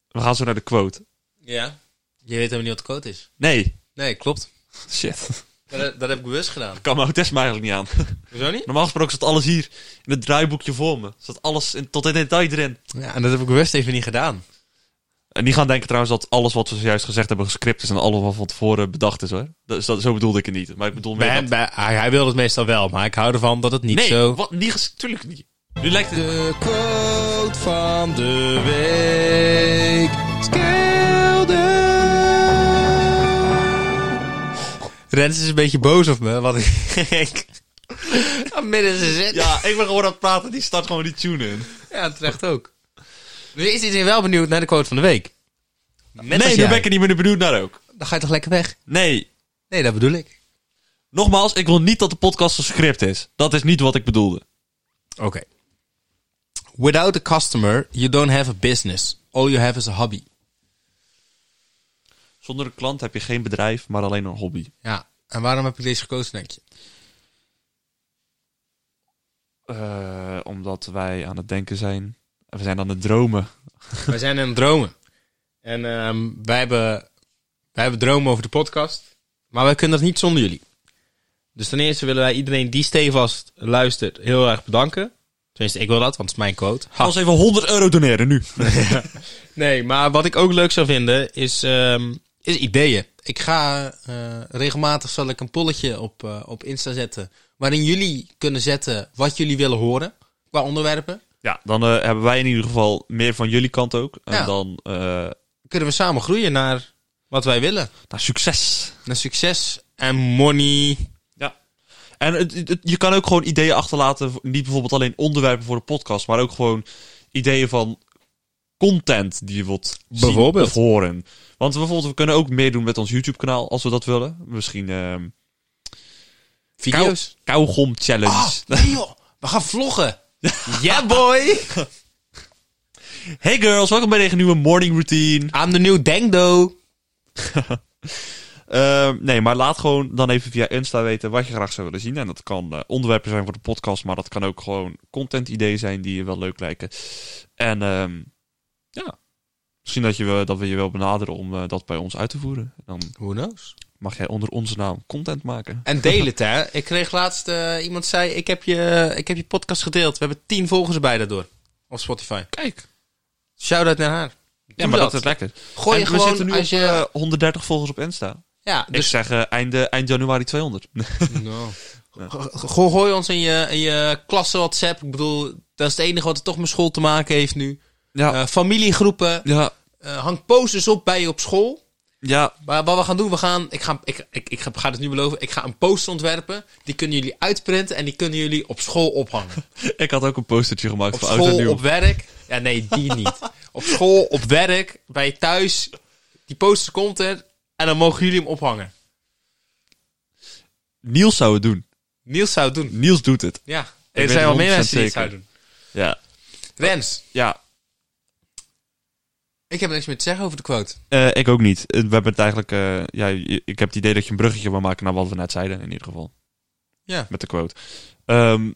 [SPEAKER 2] we gaan zo naar de quote.
[SPEAKER 1] ja. Je weet helemaal niet wat de code is.
[SPEAKER 2] Nee.
[SPEAKER 1] Nee, klopt. [laughs]
[SPEAKER 2] Shit.
[SPEAKER 1] Dat, dat heb ik bewust gedaan.
[SPEAKER 2] Kan mijn autisme eigenlijk niet aan.
[SPEAKER 1] Hoezo niet?
[SPEAKER 2] Normaal gesproken zat alles hier in het draaiboekje voor me. Zat alles in, tot in detail erin.
[SPEAKER 1] Ja, en dat heb ik bewust even niet gedaan.
[SPEAKER 2] En die gaan denken trouwens dat alles wat we zojuist gezegd hebben gescript is en alles wat van tevoren bedacht is hoor. Dus dat, zo bedoelde ik het niet. Maar ik bedoel meer dat-
[SPEAKER 1] hij, hij wil het meestal wel, maar ik hou ervan dat het niet
[SPEAKER 2] Nee,
[SPEAKER 1] zo...
[SPEAKER 2] wat, niet, ges- tuurlijk niet. Nu lijkt het...
[SPEAKER 1] De quote van de week. Skelde. Rens is een beetje boos op me, want [laughs] ik... Aan Oh, midden ze zit. Ja.
[SPEAKER 2] Ja, ik ben gewoon aan het praten. Die start gewoon die tune in.
[SPEAKER 1] terecht ook. Nu is iedereen wel benieuwd naar de quote van de week. Net als
[SPEAKER 2] nee, nu
[SPEAKER 1] jij.
[SPEAKER 2] ben ik er niet meer benieuwd naar ook.
[SPEAKER 1] Dan ga je toch lekker weg?
[SPEAKER 2] Nee.
[SPEAKER 1] Nee, dat bedoel ik.
[SPEAKER 2] Nogmaals, ik wil niet dat de podcast een script is. Dat is niet wat ik bedoelde.
[SPEAKER 1] Oké. Without a customer, you don't have a business. All you have is a hobby.
[SPEAKER 2] Zonder een klant heb je geen bedrijf, maar alleen een hobby.
[SPEAKER 1] Ja. En waarom heb ik deze gekozen, denk je?
[SPEAKER 2] Eh, omdat wij aan het denken zijn. En we zijn aan het dromen.
[SPEAKER 1] Wij zijn aan het dromen. En ehm, wij, hebben, wij hebben dromen over de podcast. Maar wij kunnen dat niet zonder jullie. Dus ten eerste willen wij iedereen die stevast luistert heel erg bedanken. Tenminste, ik wil dat, want het is mijn quote. Ha.
[SPEAKER 2] Als even 100 euro doneren nu.
[SPEAKER 1] Nee, maar wat ik ook leuk zou vinden is, ehm, is ideeën. Ik ga eh, regelmatig zal ik een polletje op, eh, op Insta zetten. Waarin jullie kunnen zetten wat jullie willen horen qua onderwerpen.
[SPEAKER 2] ja, dan eh, hebben wij in ieder geval meer van jullie kant ook. En
[SPEAKER 1] Ja.
[SPEAKER 2] dan eh,
[SPEAKER 1] Kunnen we samen groeien naar wat wij willen.
[SPEAKER 2] naar succes.
[SPEAKER 1] Naar succes en money.
[SPEAKER 2] En het, het- het- je kan ook gewoon ideeën achterlaten. voor- Niet bijvoorbeeld alleen onderwerpen voor de podcast, maar ook gewoon ideeën van content die je wilt zien
[SPEAKER 1] Bijvoorbeeld.
[SPEAKER 2] of horen. Want bijvoorbeeld, we kunnen ook meer doen met ons YouTube-kanaal als we dat willen. Misschien ehm
[SPEAKER 1] Video's.
[SPEAKER 2] kauwgom challenge.
[SPEAKER 1] Ah, nee joh, we gaan vloggen. [laughs] yeah boy.
[SPEAKER 2] Hey girls, welkom bij deze nieuwe morning routine.
[SPEAKER 1] I'm the new Dengdo.
[SPEAKER 2] Ehm, nee, maar laat gewoon dan even via Insta weten wat je graag zou willen zien. En dat kan eh, onderwerpen zijn voor de podcast, maar dat kan ook gewoon content-ideeën zijn die je wel leuk lijken. En ehm, ja, misschien dat, je, wel- dat we je wel benaderen om eh, dat bij ons uit te voeren. Dan
[SPEAKER 1] Who knows?
[SPEAKER 2] mag jij onder onze naam content maken.
[SPEAKER 1] En deel het hè. Ik kreeg laatst, eh, iemand zei, ik heb, je, eh, ik heb je podcast gedeeld. We hebben tien volgers bij daardoor. Op Spotify.
[SPEAKER 2] Kijk,
[SPEAKER 1] Shout-out naar haar.
[SPEAKER 2] ja, maar dat.
[SPEAKER 1] dat.
[SPEAKER 2] is lekker.
[SPEAKER 1] Gooi je
[SPEAKER 2] En we zitten
[SPEAKER 1] gewoon
[SPEAKER 2] nu
[SPEAKER 1] als
[SPEAKER 2] op
[SPEAKER 1] je...
[SPEAKER 2] eh, 130 volgers op Insta.
[SPEAKER 1] ja,
[SPEAKER 2] Ik [laughs]
[SPEAKER 1] dus...
[SPEAKER 2] zeg eh, einde, eind januari [laughs] 200.
[SPEAKER 1] No. Go- go- Gooi ons in je, in je klasse WhatsApp. Ik bedoel, dat is het enige wat het toch met school te maken heeft nu.
[SPEAKER 2] ja,
[SPEAKER 1] Eh, familiegroepen.
[SPEAKER 2] ja,
[SPEAKER 1] Eh, hang posters op bij je op school.
[SPEAKER 2] ja,
[SPEAKER 1] Maar wat we gaan doen, we gaan, ik, ga, ik, ik, ik ga het nu beloven, ik ga een poster ontwerpen. Die kunnen jullie uitprinten en die kunnen jullie op school
[SPEAKER 2] [laughs]
[SPEAKER 1] ophangen.
[SPEAKER 2] ik had ook een postertje gemaakt
[SPEAKER 1] Op
[SPEAKER 2] voor Oud en
[SPEAKER 1] school,
[SPEAKER 2] Nieuw.
[SPEAKER 1] op werk. Ja, nee, die niet. Op school, op werk, bij je thuis. Die poster komt er en dan mogen jullie hem ophangen.
[SPEAKER 2] Niels zou het doen.
[SPEAKER 1] Niels zou het doen.
[SPEAKER 2] Niels doet het.
[SPEAKER 1] Ja,
[SPEAKER 2] weet
[SPEAKER 1] er zijn wel meer
[SPEAKER 2] 100%
[SPEAKER 1] mensen die het
[SPEAKER 2] zeker.
[SPEAKER 1] zouden doen.
[SPEAKER 2] Ja.
[SPEAKER 1] Rens,
[SPEAKER 2] Ja,
[SPEAKER 1] ik heb niks meer te zeggen over de quote.
[SPEAKER 2] Eh, ik ook niet. Eh, We hebben het eigenlijk. eh, ja, je- ik heb het idee dat je een bruggetje wil maken naar wat we net zeiden, in ieder geval.
[SPEAKER 1] Ja.
[SPEAKER 2] Met de quote. Ehm,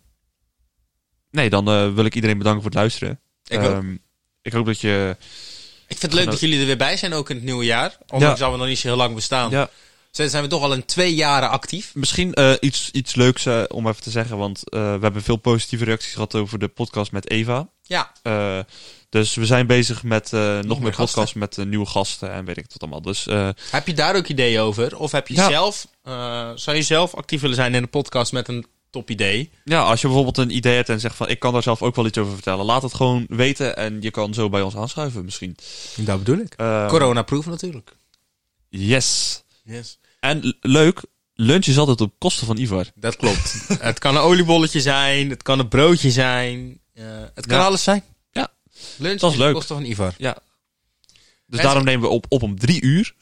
[SPEAKER 2] nee, dan eh, wil ik iedereen bedanken voor het luisteren.
[SPEAKER 1] Ik, ook.
[SPEAKER 2] Ehm, ik hoop dat je.
[SPEAKER 1] ik vind het leuk dat jullie er weer bij zijn, ook in het nieuwe jaar. Ondanks dat we nog niet zo heel lang bestaan.
[SPEAKER 2] Ja,
[SPEAKER 1] Zo zijn we toch al in twee jaren actief.
[SPEAKER 2] misschien eh, iets, iets leuks eh, om even te zeggen. Want eh, we hebben veel positieve reacties gehad over de podcast met Eva.
[SPEAKER 1] Ja,
[SPEAKER 2] Eh, dus we zijn bezig met eh, nog,
[SPEAKER 1] meer
[SPEAKER 2] meer
[SPEAKER 1] gasten.
[SPEAKER 2] podcasts met eh, nieuwe gasten en weet ik wat allemaal. Dus eh,
[SPEAKER 1] Heb je daar ook ideeën over? Of heb je
[SPEAKER 2] Ja.
[SPEAKER 1] zelf, eh, zou je zelf actief willen zijn in de podcast met een topidee?
[SPEAKER 2] Ja, als je bijvoorbeeld een idee hebt en zegt van ik kan daar zelf ook wel iets over vertellen, laat het gewoon weten en je kan zo bij ons aanschuiven misschien.
[SPEAKER 1] Dat bedoel ik.
[SPEAKER 2] Eh,
[SPEAKER 1] Corona-proof natuurlijk.
[SPEAKER 2] Yes.
[SPEAKER 1] Yes.
[SPEAKER 2] En l- leuk, lunch is altijd op kosten van Ivar.
[SPEAKER 1] Dat klopt. [laughs] het kan een oliebolletje zijn, het kan een broodje zijn, eh, het kan
[SPEAKER 2] Ja.
[SPEAKER 1] alles zijn.
[SPEAKER 2] Ja.
[SPEAKER 1] Lunch
[SPEAKER 2] Dat is
[SPEAKER 1] is de
[SPEAKER 2] leuk.
[SPEAKER 1] kosten van Ivar.
[SPEAKER 2] Ja. Dus
[SPEAKER 1] En-
[SPEAKER 2] daarom nemen we op, op om drie uur.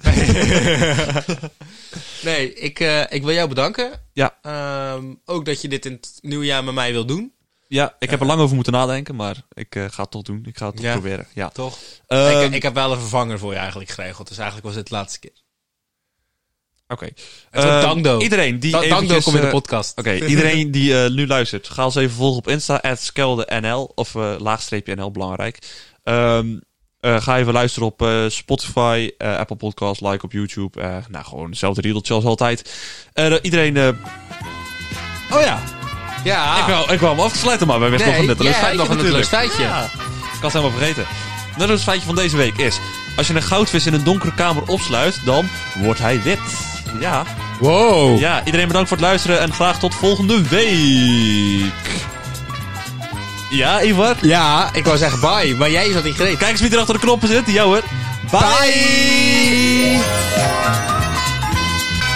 [SPEAKER 1] Nee, ik, eh, ik wil jou bedanken.
[SPEAKER 2] Ja.
[SPEAKER 1] Ehm, ook dat je dit in het nieuwe jaar met mij wil doen.
[SPEAKER 2] Ja, ik heb er lang over moeten nadenken, maar ik eh, ga het toch doen. Ik ga het toch
[SPEAKER 1] Ja.
[SPEAKER 2] proberen. Ja.
[SPEAKER 1] Toch?
[SPEAKER 2] Ehm,
[SPEAKER 1] ik, ik heb wel een vervanger voor je eigenlijk geregeld. Dus eigenlijk was dit de laatste keer.
[SPEAKER 2] Oké.
[SPEAKER 1] wordt
[SPEAKER 2] Ehm,
[SPEAKER 1] Dangdo.
[SPEAKER 2] Iedereen die
[SPEAKER 1] Da- Dank
[SPEAKER 2] eventjes,
[SPEAKER 1] kom in de
[SPEAKER 2] eh,
[SPEAKER 1] podcast.
[SPEAKER 2] Oké,
[SPEAKER 1] [laughs]
[SPEAKER 2] iedereen die eh, nu luistert, ga ons even volgen op Insta, skeldenNL, of eh, laagstreepje NL, belangrijk. Ehm, eh, ga even luisteren op eh, Spotify, eh, Apple Podcast, like op YouTube. eh, nou, gewoon hetzelfde riedeltje als altijd. Eh, eh, iedereen... eh, oh ja,
[SPEAKER 1] Ja.
[SPEAKER 2] ik, wou, ik wou hem afsluiten, maar we hebben nog
[SPEAKER 1] Nee,
[SPEAKER 2] een nutteloos
[SPEAKER 1] jij
[SPEAKER 2] feitje
[SPEAKER 1] hebt nog een
[SPEAKER 2] natuurlijk.
[SPEAKER 1] nutteloos feitje.
[SPEAKER 2] Ja, ik had het helemaal vergeten. Het nutteloos feitje van deze week is... Als je een goudvis in een donkere kamer opsluit, dan wordt hij wit. Ja,
[SPEAKER 1] Wow.
[SPEAKER 2] ja, iedereen bedankt voor het luisteren en graag tot volgende week. Ja, Ivar?
[SPEAKER 1] Ja, ik wou zeggen bye, maar jij zat in greep.
[SPEAKER 2] Kijk eens wie er achter de knoppen zit. Ja hoor. Bye!